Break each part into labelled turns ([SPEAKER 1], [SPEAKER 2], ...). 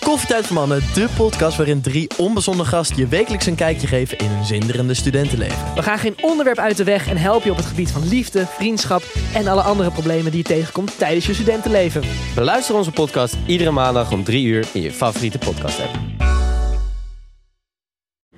[SPEAKER 1] Koffietijd voor Mannen, de podcast waarin drie onbezonnen gasten je wekelijks een kijkje geven in hun zinderende studentenleven.
[SPEAKER 2] We gaan geen onderwerp uit de weg en helpen je op het gebied van liefde, vriendschap en alle andere problemen die je tegenkomt tijdens je studentenleven.
[SPEAKER 3] Beluister onze podcast iedere maandag om 3 uur in je favoriete podcast app.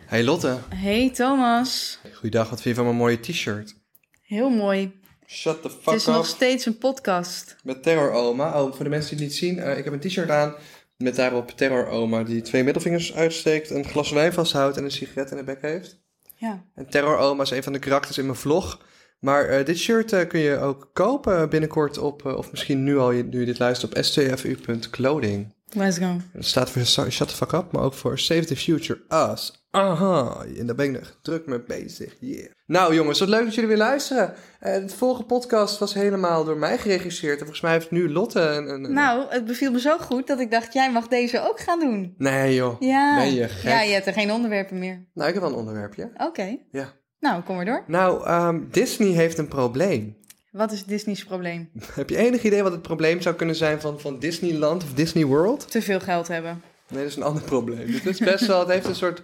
[SPEAKER 4] Hey Lotte,
[SPEAKER 5] Hey Thomas,
[SPEAKER 4] goeiedag. Wat vind je van mijn mooie t-shirt?
[SPEAKER 5] heel mooi.
[SPEAKER 4] Shut the fuck
[SPEAKER 5] Het is
[SPEAKER 4] up
[SPEAKER 5] nog steeds een podcast.
[SPEAKER 4] met Terror Oma. Oh, voor de mensen die het niet zien, eh, ik heb een t-shirt aan met daarop Terror Oma die twee middelvingers uitsteekt, een glas wijn vasthoudt en een sigaret in de bek heeft.
[SPEAKER 5] Ja.
[SPEAKER 4] En Terror Oma is een van de karakters in mijn vlog. Maar eh, dit shirt eh, kun je ook kopen binnenkort op, eh, of misschien nu al, je- nu je dit luistert, op stfu.clothing.
[SPEAKER 5] Let's go.
[SPEAKER 4] Dat staat voor Sa- Shut the fuck up, maar ook voor Save the Future Us. Aha, en daar ben ik nog druk mee bezig. Yeah. Nou jongens, wat leuk dat jullie weer luisteren. Eh de vorige podcast was helemaal door mij geregisseerd. En volgens mij heeft nu Lotte een... een een-
[SPEAKER 5] Nou, het beviel me zo goed dat ik dacht, jij mag deze ook gaan doen.
[SPEAKER 4] Nee joh,
[SPEAKER 5] Ja.
[SPEAKER 4] ben je gek.
[SPEAKER 5] Ja, je hebt er geen onderwerpen meer.
[SPEAKER 4] Nou, ik heb wel een onderwerpje.
[SPEAKER 5] Oké.
[SPEAKER 4] Ja.
[SPEAKER 5] Nou, kom maar door.
[SPEAKER 4] Nou, ehm, Disney heeft een probleem.
[SPEAKER 5] Wat is Disney's probleem?
[SPEAKER 4] Heb je enig idee wat het probleem zou kunnen zijn van, van Disneyland of Disney World?
[SPEAKER 5] Te veel geld hebben.
[SPEAKER 4] Nee, dat is een ander probleem. Dit is best wel, het heeft een soort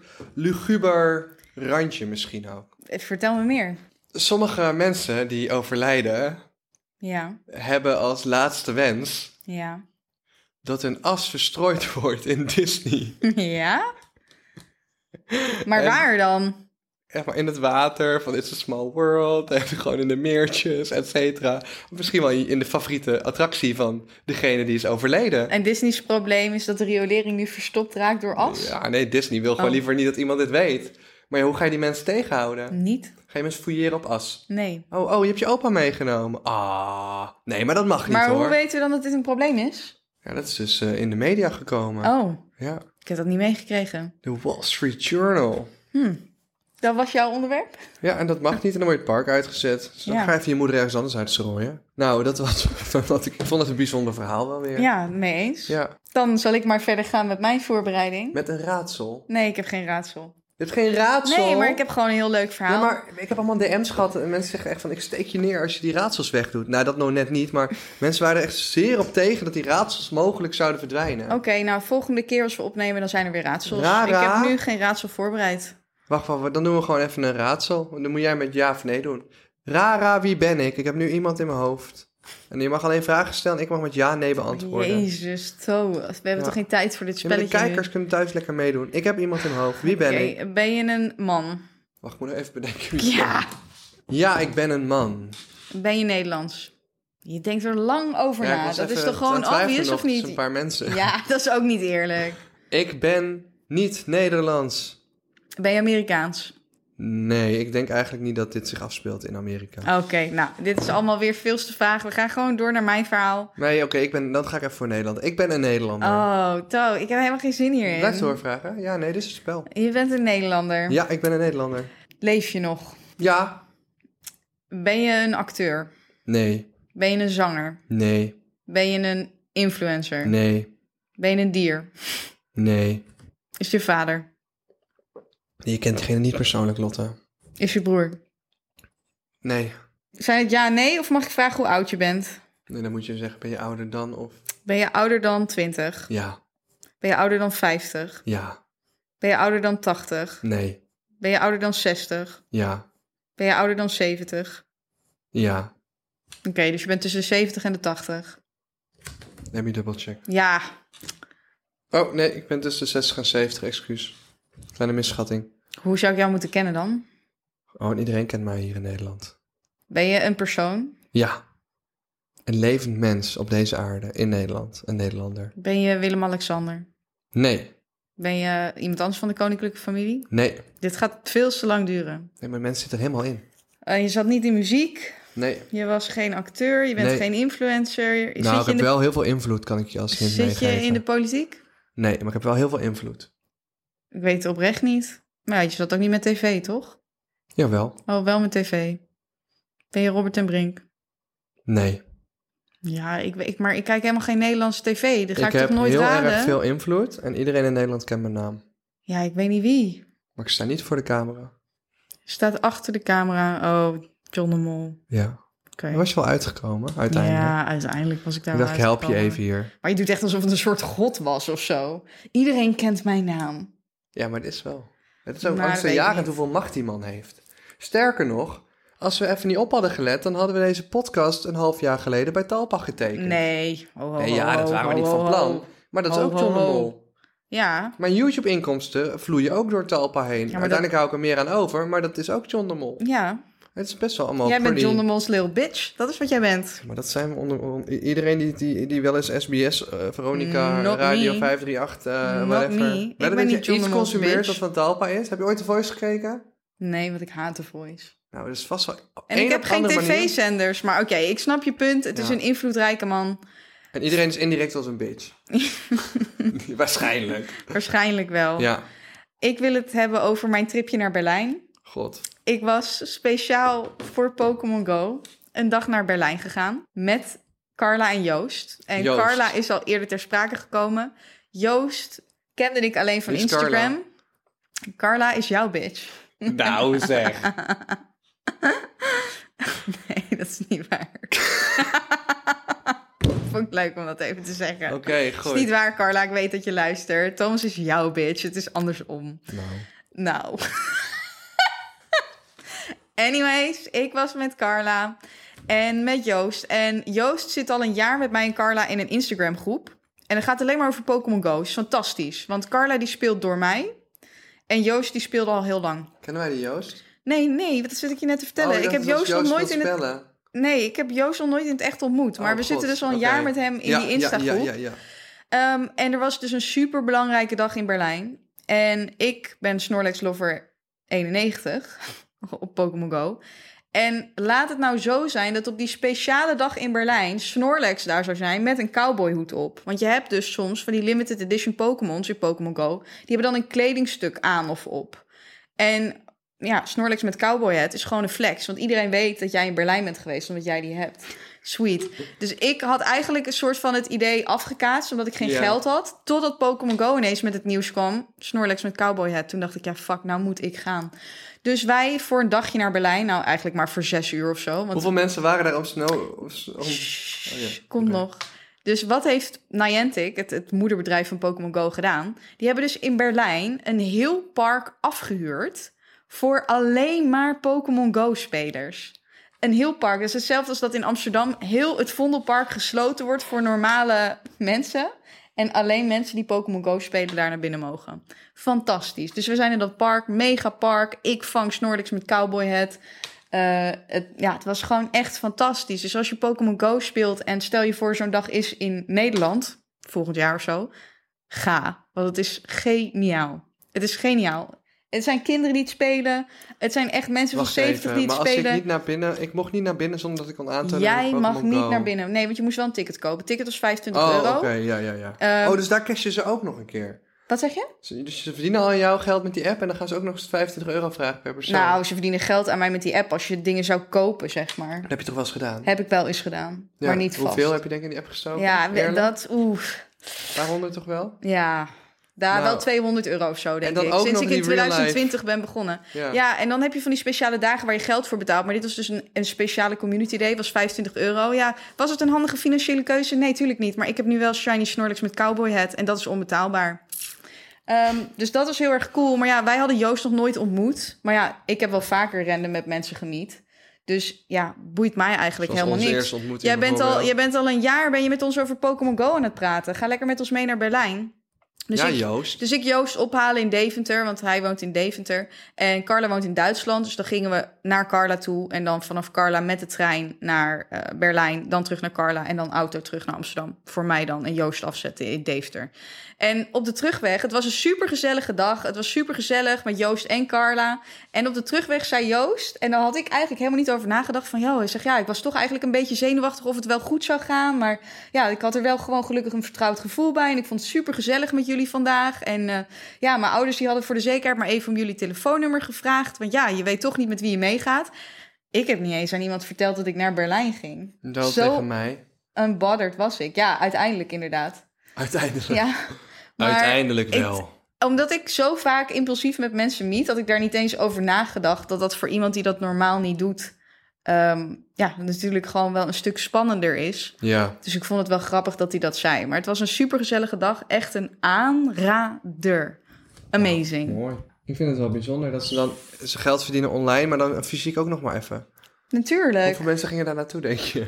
[SPEAKER 4] luguber randje misschien ook.
[SPEAKER 5] Eh, Vertel me meer.
[SPEAKER 4] Sommige mensen die overlijden
[SPEAKER 5] Ja,
[SPEAKER 4] hebben als laatste wens
[SPEAKER 5] ja.
[SPEAKER 4] dat hun as verstrooid wordt in Disney.
[SPEAKER 5] ja? Maar
[SPEAKER 4] En-
[SPEAKER 5] waar dan?
[SPEAKER 4] Echt maar in het water, van It's a Small World, en gewoon in de meertjes, et cetera. Of Misschien wel in de favoriete attractie van degene die is overleden.
[SPEAKER 5] En Disney's probleem is dat de riolering nu verstopt raakt door as?
[SPEAKER 4] Ja, nee, Disney wil gewoon
[SPEAKER 5] Oh. Hm.
[SPEAKER 4] liever niet dat iemand dit weet. Maar ja, hoe ga je die mensen tegenhouden?
[SPEAKER 5] Niet?
[SPEAKER 4] Ga je mensen fouilleren op as?
[SPEAKER 5] Nee.
[SPEAKER 4] Oh, oh, je hebt je opa meegenomen. Ah, nee, maar dat mag niet
[SPEAKER 5] Maar
[SPEAKER 4] hoor.
[SPEAKER 5] hoe weten we dan dat dit een probleem is?
[SPEAKER 4] Ja, dat is dus eh, in de media gekomen.
[SPEAKER 5] Oh,
[SPEAKER 4] Ja,
[SPEAKER 5] ik heb dat niet meegekregen.
[SPEAKER 4] de Wall Street Journal.
[SPEAKER 5] Dat was jouw onderwerp?
[SPEAKER 4] Ja, en dat mag niet en dan wordt het park uitgezet. Dus dan
[SPEAKER 5] Ja.
[SPEAKER 4] ga even je moeder ergens anders uitstrooien. Nou, dat was wat ik, ik vond het een bijzonder verhaal wel weer.
[SPEAKER 5] Ja, mee eens.
[SPEAKER 4] Ja,
[SPEAKER 5] Dan zal ik maar verder gaan met mijn voorbereiding.
[SPEAKER 4] met een raadsel.
[SPEAKER 5] Nee, ik heb geen raadsel.
[SPEAKER 4] Je hebt geen raadsel.
[SPEAKER 5] Nee, maar ik heb gewoon een heel leuk
[SPEAKER 4] Ja,
[SPEAKER 5] verhaal.
[SPEAKER 4] maar ik heb allemaal DM's gehad en mensen zeggen echt van ik steek je neer als je die raadsels wegdoet. Nou, dat nou net niet, maar mensen waren er echt zeer op tegen dat die raadsels mogelijk zouden verdwijnen.
[SPEAKER 5] Oké, nou, volgende keer als we opnemen, dan zijn er weer raadsels.
[SPEAKER 4] Rara.
[SPEAKER 5] Ik heb nu geen raadsel voorbereid.
[SPEAKER 4] Wacht, wacht, dan doen we gewoon even een raadsel. Dan moet jij met ja of nee doen. Rara, wie ben ik? Ik heb nu iemand in mijn hoofd. En je mag alleen vragen stellen, ik mag met ja, nee beantwoorden.
[SPEAKER 5] Jezus, zo. We hebben
[SPEAKER 4] Ja.
[SPEAKER 5] toch geen tijd voor dit
[SPEAKER 4] Ja, maar
[SPEAKER 5] spelletje
[SPEAKER 4] de kijkers
[SPEAKER 5] nu?
[SPEAKER 4] kunnen thuis lekker meedoen. Ik heb iemand in mijn hoofd. Wie ben
[SPEAKER 5] Oké,
[SPEAKER 4] ik?
[SPEAKER 5] ben je een man?
[SPEAKER 4] Wacht, ik moet nog even bedenken. wie ik
[SPEAKER 5] Ja.
[SPEAKER 4] ben. ja, ik ben een man.
[SPEAKER 5] Ben je Nederlands? Je denkt er lang over
[SPEAKER 4] Ja, ik
[SPEAKER 5] na.
[SPEAKER 4] was
[SPEAKER 5] Dat
[SPEAKER 4] even
[SPEAKER 5] is toch
[SPEAKER 4] aan
[SPEAKER 5] gewoon
[SPEAKER 4] het twijfelen
[SPEAKER 5] obvious,
[SPEAKER 4] nog
[SPEAKER 5] of
[SPEAKER 4] tussen
[SPEAKER 5] niet?
[SPEAKER 4] een paar mensen.
[SPEAKER 5] Ja, dat is ook niet eerlijk.
[SPEAKER 4] Ik ben niet Nederlands.
[SPEAKER 5] Ben je Amerikaans?
[SPEAKER 4] Nee, ik denk eigenlijk niet dat dit zich afspeelt in Amerika.
[SPEAKER 5] Oké, nou, dit is allemaal weer veel te vaag. We gaan gewoon door naar mijn verhaal.
[SPEAKER 4] Nee, oké, ik ben, dan ga ik even voor Nederland. Ik ben een Nederlander.
[SPEAKER 5] Oh, To, ik heb helemaal geen zin hierin.
[SPEAKER 4] Blijf doorvragen. Ja, nee, dit is een spel.
[SPEAKER 5] Je bent een Nederlander.
[SPEAKER 4] Ja, ik ben een Nederlander.
[SPEAKER 5] Leef je nog?
[SPEAKER 4] Ja.
[SPEAKER 5] Ben je een acteur?
[SPEAKER 4] Nee.
[SPEAKER 5] Ben je een zanger?
[SPEAKER 4] Nee.
[SPEAKER 5] Ben je een influencer?
[SPEAKER 4] Nee.
[SPEAKER 5] Ben je een dier?
[SPEAKER 4] Nee.
[SPEAKER 5] Is je vader?
[SPEAKER 4] Je kent diegene niet persoonlijk, Lotte.
[SPEAKER 5] Is je broer?
[SPEAKER 4] Nee.
[SPEAKER 5] Zijn het ja, nee? Of mag ik vragen hoe oud je bent?
[SPEAKER 4] Nee, dan moet je zeggen, ben je ouder dan of...
[SPEAKER 5] Ben je ouder dan 20?
[SPEAKER 4] Ja.
[SPEAKER 5] Ben je ouder dan 50?
[SPEAKER 4] Ja.
[SPEAKER 5] Ben je ouder dan 80?
[SPEAKER 4] Nee.
[SPEAKER 5] Ben je ouder dan 60?
[SPEAKER 4] Ja.
[SPEAKER 5] Ben je ouder dan 70?
[SPEAKER 4] Ja.
[SPEAKER 5] Oké, dus je bent tussen de 70 en de 80.
[SPEAKER 4] Dan heb je dubbelcheck.
[SPEAKER 5] Ja,
[SPEAKER 4] Oh, nee, ik ben tussen de 60 en 70, excuus. Kleine misschatting.
[SPEAKER 5] hoe zou ik jou moeten kennen dan?
[SPEAKER 4] Oh, en iedereen kent mij hier in Nederland.
[SPEAKER 5] Ben je een persoon?
[SPEAKER 4] Ja. Een levend mens op deze aarde, in Nederland. Een Nederlander.
[SPEAKER 5] Ben je Willem-Alexander?
[SPEAKER 4] Nee.
[SPEAKER 5] Ben je iemand anders van de koninklijke familie?
[SPEAKER 4] Nee.
[SPEAKER 5] Dit gaat veel te lang duren.
[SPEAKER 4] Nee, maar mensen zitten er helemaal in.
[SPEAKER 5] Eh, je zat niet in muziek,
[SPEAKER 4] Nee.
[SPEAKER 5] je was geen acteur, je bent
[SPEAKER 4] Nee.
[SPEAKER 5] geen influencer. Je,
[SPEAKER 4] nou,
[SPEAKER 5] zit
[SPEAKER 4] ik
[SPEAKER 5] je,
[SPEAKER 4] heb
[SPEAKER 5] in de,
[SPEAKER 4] wel heel veel invloed, kan ik je als hint
[SPEAKER 5] zit je
[SPEAKER 4] meegeven.
[SPEAKER 5] in de politiek?
[SPEAKER 4] Nee, maar ik heb wel heel veel invloed.
[SPEAKER 5] Ik weet het oprecht niet. Maar ja, je zat ook niet met tv, toch?
[SPEAKER 4] Jawel.
[SPEAKER 5] Oh, wel met tv. Ben je Robert en Brink?
[SPEAKER 4] Nee.
[SPEAKER 5] Ja, ik, weet- ik, maar ik kijk helemaal geen Nederlandse tv. Dat ga ik,
[SPEAKER 4] ik heb
[SPEAKER 5] toch nooit
[SPEAKER 4] heel
[SPEAKER 5] raden?
[SPEAKER 4] erg veel invloed en iedereen in Nederland kent mijn naam.
[SPEAKER 5] Ja, ik weet niet wie.
[SPEAKER 4] Maar ik sta niet voor de camera.
[SPEAKER 5] Staat achter de camera. Oh, John de Mol.
[SPEAKER 4] Ja.
[SPEAKER 5] Oké.
[SPEAKER 4] Daar was je wel uitgekomen, uiteindelijk.
[SPEAKER 5] Ja, uiteindelijk was ik daar
[SPEAKER 4] ik dacht, ik
[SPEAKER 5] wel
[SPEAKER 4] help je
[SPEAKER 5] uitgekomen.
[SPEAKER 4] even hier.
[SPEAKER 5] Maar je doet echt alsof het een soort god was of zo. Iedereen kent mijn naam.
[SPEAKER 4] Ja, maar het is wel. Het is ook
[SPEAKER 5] Nou, dat weet ik
[SPEAKER 4] angstaanjagend
[SPEAKER 5] niet.
[SPEAKER 4] hoeveel macht die man heeft. Sterker nog, als we even niet op hadden gelet, dan hadden we deze podcast een half jaar geleden bij Talpa getekend.
[SPEAKER 5] Nee. Ho, ho,
[SPEAKER 4] Nee, ja,
[SPEAKER 5] ho,
[SPEAKER 4] dat waren we
[SPEAKER 5] ho,
[SPEAKER 4] niet
[SPEAKER 5] ho,
[SPEAKER 4] van plan.
[SPEAKER 5] ho.
[SPEAKER 4] Maar dat is
[SPEAKER 5] Ho,
[SPEAKER 4] ook
[SPEAKER 5] ho,
[SPEAKER 4] John de
[SPEAKER 5] ho.
[SPEAKER 4] Mol.
[SPEAKER 5] Ja,
[SPEAKER 4] Mijn YouTube-inkomsten vloeien ook door Talpa heen.
[SPEAKER 5] dat-
[SPEAKER 4] Uiteindelijk hou ik er meer aan over, maar dat is ook John de Mol.
[SPEAKER 5] ja.
[SPEAKER 4] Het is best wel allemaal
[SPEAKER 5] jij bent
[SPEAKER 4] pretty.
[SPEAKER 5] John de Mol's little bitch. Dat is wat jij bent.
[SPEAKER 4] Maar dat zijn we onder, on- i- iedereen die, die, die wel eens SBS, eh, Veronica,
[SPEAKER 5] Mm, Not
[SPEAKER 4] Radio
[SPEAKER 5] me.
[SPEAKER 4] 538, eh
[SPEAKER 5] Not
[SPEAKER 4] whatever.
[SPEAKER 5] me.
[SPEAKER 4] Wel
[SPEAKER 5] Ik
[SPEAKER 4] een
[SPEAKER 5] ben
[SPEAKER 4] beetje
[SPEAKER 5] niet John
[SPEAKER 4] iets
[SPEAKER 5] de Mol's
[SPEAKER 4] consumeert
[SPEAKER 5] bitch.
[SPEAKER 4] dat van Talpa is. Heb je ooit de Voice gekeken?
[SPEAKER 5] Nee, want ik haat de voice.
[SPEAKER 4] Nou, dat is vast wel op
[SPEAKER 5] En
[SPEAKER 4] een
[SPEAKER 5] ik heb
[SPEAKER 4] of
[SPEAKER 5] geen
[SPEAKER 4] andere manier.
[SPEAKER 5] tv-zenders. Maar oké, ik snap je punt. Het is
[SPEAKER 4] Ja.
[SPEAKER 5] een invloedrijke man.
[SPEAKER 4] En iedereen is indirect als een bitch. Waarschijnlijk.
[SPEAKER 5] Waarschijnlijk wel.
[SPEAKER 4] Ja,
[SPEAKER 5] Ik wil het hebben over mijn tripje naar Berlijn.
[SPEAKER 4] god.
[SPEAKER 5] Ik was speciaal voor Pokémon Go een dag naar Berlijn gegaan met Carla en Joost. En
[SPEAKER 4] Joost.
[SPEAKER 5] Carla is al eerder ter sprake gekomen. Joost kende ik alleen van
[SPEAKER 4] Wie is
[SPEAKER 5] Instagram. Carla? is jouw bitch.
[SPEAKER 3] Nou zeg.
[SPEAKER 5] Nee, dat is niet waar. Vond ik leuk om dat even te zeggen.
[SPEAKER 4] Oké,
[SPEAKER 5] Het
[SPEAKER 4] goed.
[SPEAKER 5] Eh, is niet waar, Carla. Ik weet dat je luistert. Thomas is jouw bitch. Het is andersom. Nou. Anyways, ik was met Carla en met Joost. En Joost zit al een jaar met mij en Carla in een Instagram groep. En het gaat alleen maar over Pokémon Go. Is fantastisch. Want Carla die speelt door mij. En Joost die speelde al heel lang.
[SPEAKER 4] Kennen wij die Joost? Oh,
[SPEAKER 5] Nee, nee, dat zit ik je net te vertellen. ik heb Joost, nog nooit in het.
[SPEAKER 4] het...
[SPEAKER 5] Nee, ik heb Joost nog nooit in het echt ontmoet. Maar we zitten dus al een jaar met hem in die Insta-groep.
[SPEAKER 4] Oh, Ja, ja, ja.
[SPEAKER 5] Ehm, en er was dus een super belangrijke dag in Berlijn. En ik ben Snorlax Lover 91 op Pokémon Go. En laat het nou zo zijn dat op die speciale dag in Berlijn Snorlax daar zou zijn met een cowboyhoed op. Want je hebt dus soms van die limited edition Pokémons in Pokémon Go. Die hebben dan een kledingstuk aan of op. En ja, Snorlax met cowboy hat is gewoon een flex. Want iedereen weet dat jij in Berlijn bent geweest, omdat jij die hebt. Sweet. Dus ik had eigenlijk een soort van het idee afgekaatst, omdat ik geen
[SPEAKER 4] Ja.
[SPEAKER 5] geld had. Totdat Pokémon Go ineens met het nieuws kwam. Snorlax met cowboy hat. Toen dacht ik, ja, fuck, nou moet ik gaan. Dus wij voor een dagje naar Berlijn. Nou, eigenlijk maar voor zes uur of zo. Want
[SPEAKER 4] Hoeveel mensen waren daar om snow... Om, om-
[SPEAKER 5] Shh,
[SPEAKER 4] Oh ja,
[SPEAKER 5] Komt
[SPEAKER 4] oké.
[SPEAKER 5] nog. Dus wat heeft Niantic, het, het moederbedrijf van Pokémon Go, gedaan? Die hebben dus in Berlijn een heel park afgehuurd voor alleen maar Pokémon Go-spelers. Een heel park. Dat is hetzelfde als dat in Amsterdam heel het Vondelpark gesloten wordt voor normale mensen. En alleen mensen die Pokémon Go spelen daar naar binnen mogen. Fantastisch. Dus we zijn in dat park, mega park. Ik vang Snorlax met cowboy hat. Eh, het, ja, het was gewoon echt fantastisch. Dus als je Pokémon Go speelt en stel je voor zo'n dag is in Nederland, volgend jaar of zo, ga. Want het is geniaal. Het is geniaal. Het zijn kinderen die het spelen. Het zijn echt mensen
[SPEAKER 4] Wacht
[SPEAKER 5] van 70
[SPEAKER 4] even,
[SPEAKER 5] die het
[SPEAKER 4] maar als
[SPEAKER 5] spelen.
[SPEAKER 4] ik niet naar binnen... Ik mocht niet naar binnen zonder dat ik kon aantonen... dat
[SPEAKER 5] Jij
[SPEAKER 4] ik
[SPEAKER 5] mag
[SPEAKER 4] Pokémon
[SPEAKER 5] niet
[SPEAKER 4] Go-
[SPEAKER 5] naar binnen. Nee, want je moest wel een ticket kopen. Ticket was 25
[SPEAKER 4] Oh,
[SPEAKER 5] euro.
[SPEAKER 4] oké, ja, ja, ja.
[SPEAKER 5] Ehm,
[SPEAKER 4] oh, dus daar cash je ze ook nog een keer.
[SPEAKER 5] Wat zeg je?
[SPEAKER 4] Ze- Dus ze verdienen al jouw geld met die app en dan gaan ze ook nog eens 25 euro vragen per persoon.
[SPEAKER 5] Nou, ze verdienen geld aan mij met die app als je dingen zou kopen, zeg maar.
[SPEAKER 4] Dat heb je toch wel eens gedaan?
[SPEAKER 5] Heb ik wel eens gedaan,
[SPEAKER 4] Ja,
[SPEAKER 5] maar niet vast.
[SPEAKER 4] Hoeveel heb je denk ik in die app gestoken?
[SPEAKER 5] Ja, we-
[SPEAKER 4] Eerlijk?
[SPEAKER 5] dat, oef.
[SPEAKER 4] Een paar honderd toch wel?
[SPEAKER 5] Ja, daar
[SPEAKER 4] Nou.
[SPEAKER 5] wel 200 euro of zo, denk
[SPEAKER 4] En dan
[SPEAKER 5] ik.
[SPEAKER 4] ook
[SPEAKER 5] Sinds
[SPEAKER 4] nog
[SPEAKER 5] ik in
[SPEAKER 4] die real
[SPEAKER 5] 2020 ben begonnen. Ja. en dan heb je van die speciale dagen waar je geld voor betaalt. Maar dit was dus een, een speciale community day, was 25 euro. Ja, was het een handige financiële keuze? Nee, tuurlijk niet. Maar ik heb nu wel Shiny Snorlax met cowboy hat en dat is onbetaalbaar. Ehm, dus dat was heel erg cool. Maar ja, wij hadden Joost nog nooit ontmoet. Maar ja, ik heb wel vaker renden met mensen gemiet. Dus ja, boeit mij eigenlijk
[SPEAKER 4] Zoals
[SPEAKER 5] helemaal
[SPEAKER 4] onze
[SPEAKER 5] niks.
[SPEAKER 4] eerste ontmoeting
[SPEAKER 5] Jij bent, al,
[SPEAKER 4] bijvoorbeeld.
[SPEAKER 5] jij bent al een jaar ben je met ons over Pokémon Go aan het praten. Ga lekker met ons mee naar Berlijn. Dus
[SPEAKER 4] ja,
[SPEAKER 5] ik,
[SPEAKER 4] Joost.
[SPEAKER 5] dus ik Joost ophalen in Deventer, want hij woont in Deventer. En Carla woont in Duitsland, dus dan gingen we naar Carla toe. En dan vanaf Carla met de trein naar eh, Berlijn, dan terug naar Carla en dan auto terug naar Amsterdam. Voor mij dan, en Joost afzetten in Deventer. En op de terugweg, het was een supergezellige dag. Het was supergezellig met Joost en Carla. En op de terugweg zei Joost, en daar had ik eigenlijk helemaal niet over nagedacht van... joh, hij zegt ja, ik was toch eigenlijk een beetje zenuwachtig of het wel goed zou gaan. Maar ja, ik had er wel gewoon gelukkig een vertrouwd gevoel bij. En ik vond het super gezellig met jullie vandaag. En eh, ja, mijn ouders die hadden voor de zekerheid maar even om jullie telefoonnummer gevraagd. Want ja, je weet toch niet met wie je meegaat. Ik heb niet eens aan iemand verteld dat ik naar Berlijn ging.
[SPEAKER 4] Dat
[SPEAKER 5] zo-
[SPEAKER 4] tegen mij.
[SPEAKER 5] Unbothered was ik. Ja, uiteindelijk inderdaad.
[SPEAKER 4] Uiteindelijk.
[SPEAKER 5] Ja. Maar
[SPEAKER 4] Uiteindelijk
[SPEAKER 5] ik-
[SPEAKER 4] wel.
[SPEAKER 5] omdat ik zo vaak impulsief met mensen meet, had ik daar niet eens over nagedacht. Dat dat voor iemand die dat normaal niet doet, eh, ehm, ja, natuurlijk gewoon wel een stuk spannender is.
[SPEAKER 4] Ja.
[SPEAKER 5] Dus ik vond het wel grappig dat hij dat zei. Maar het was een supergezellige dag. Echt een aanrader. Amazing.
[SPEAKER 4] Mooi. Ik vind het wel bijzonder dat ze dan ze geld verdienen online, maar dan fysiek ook nog maar even.
[SPEAKER 5] Natuurlijk.
[SPEAKER 4] Hoeveel mensen gingen daar naartoe, denk je?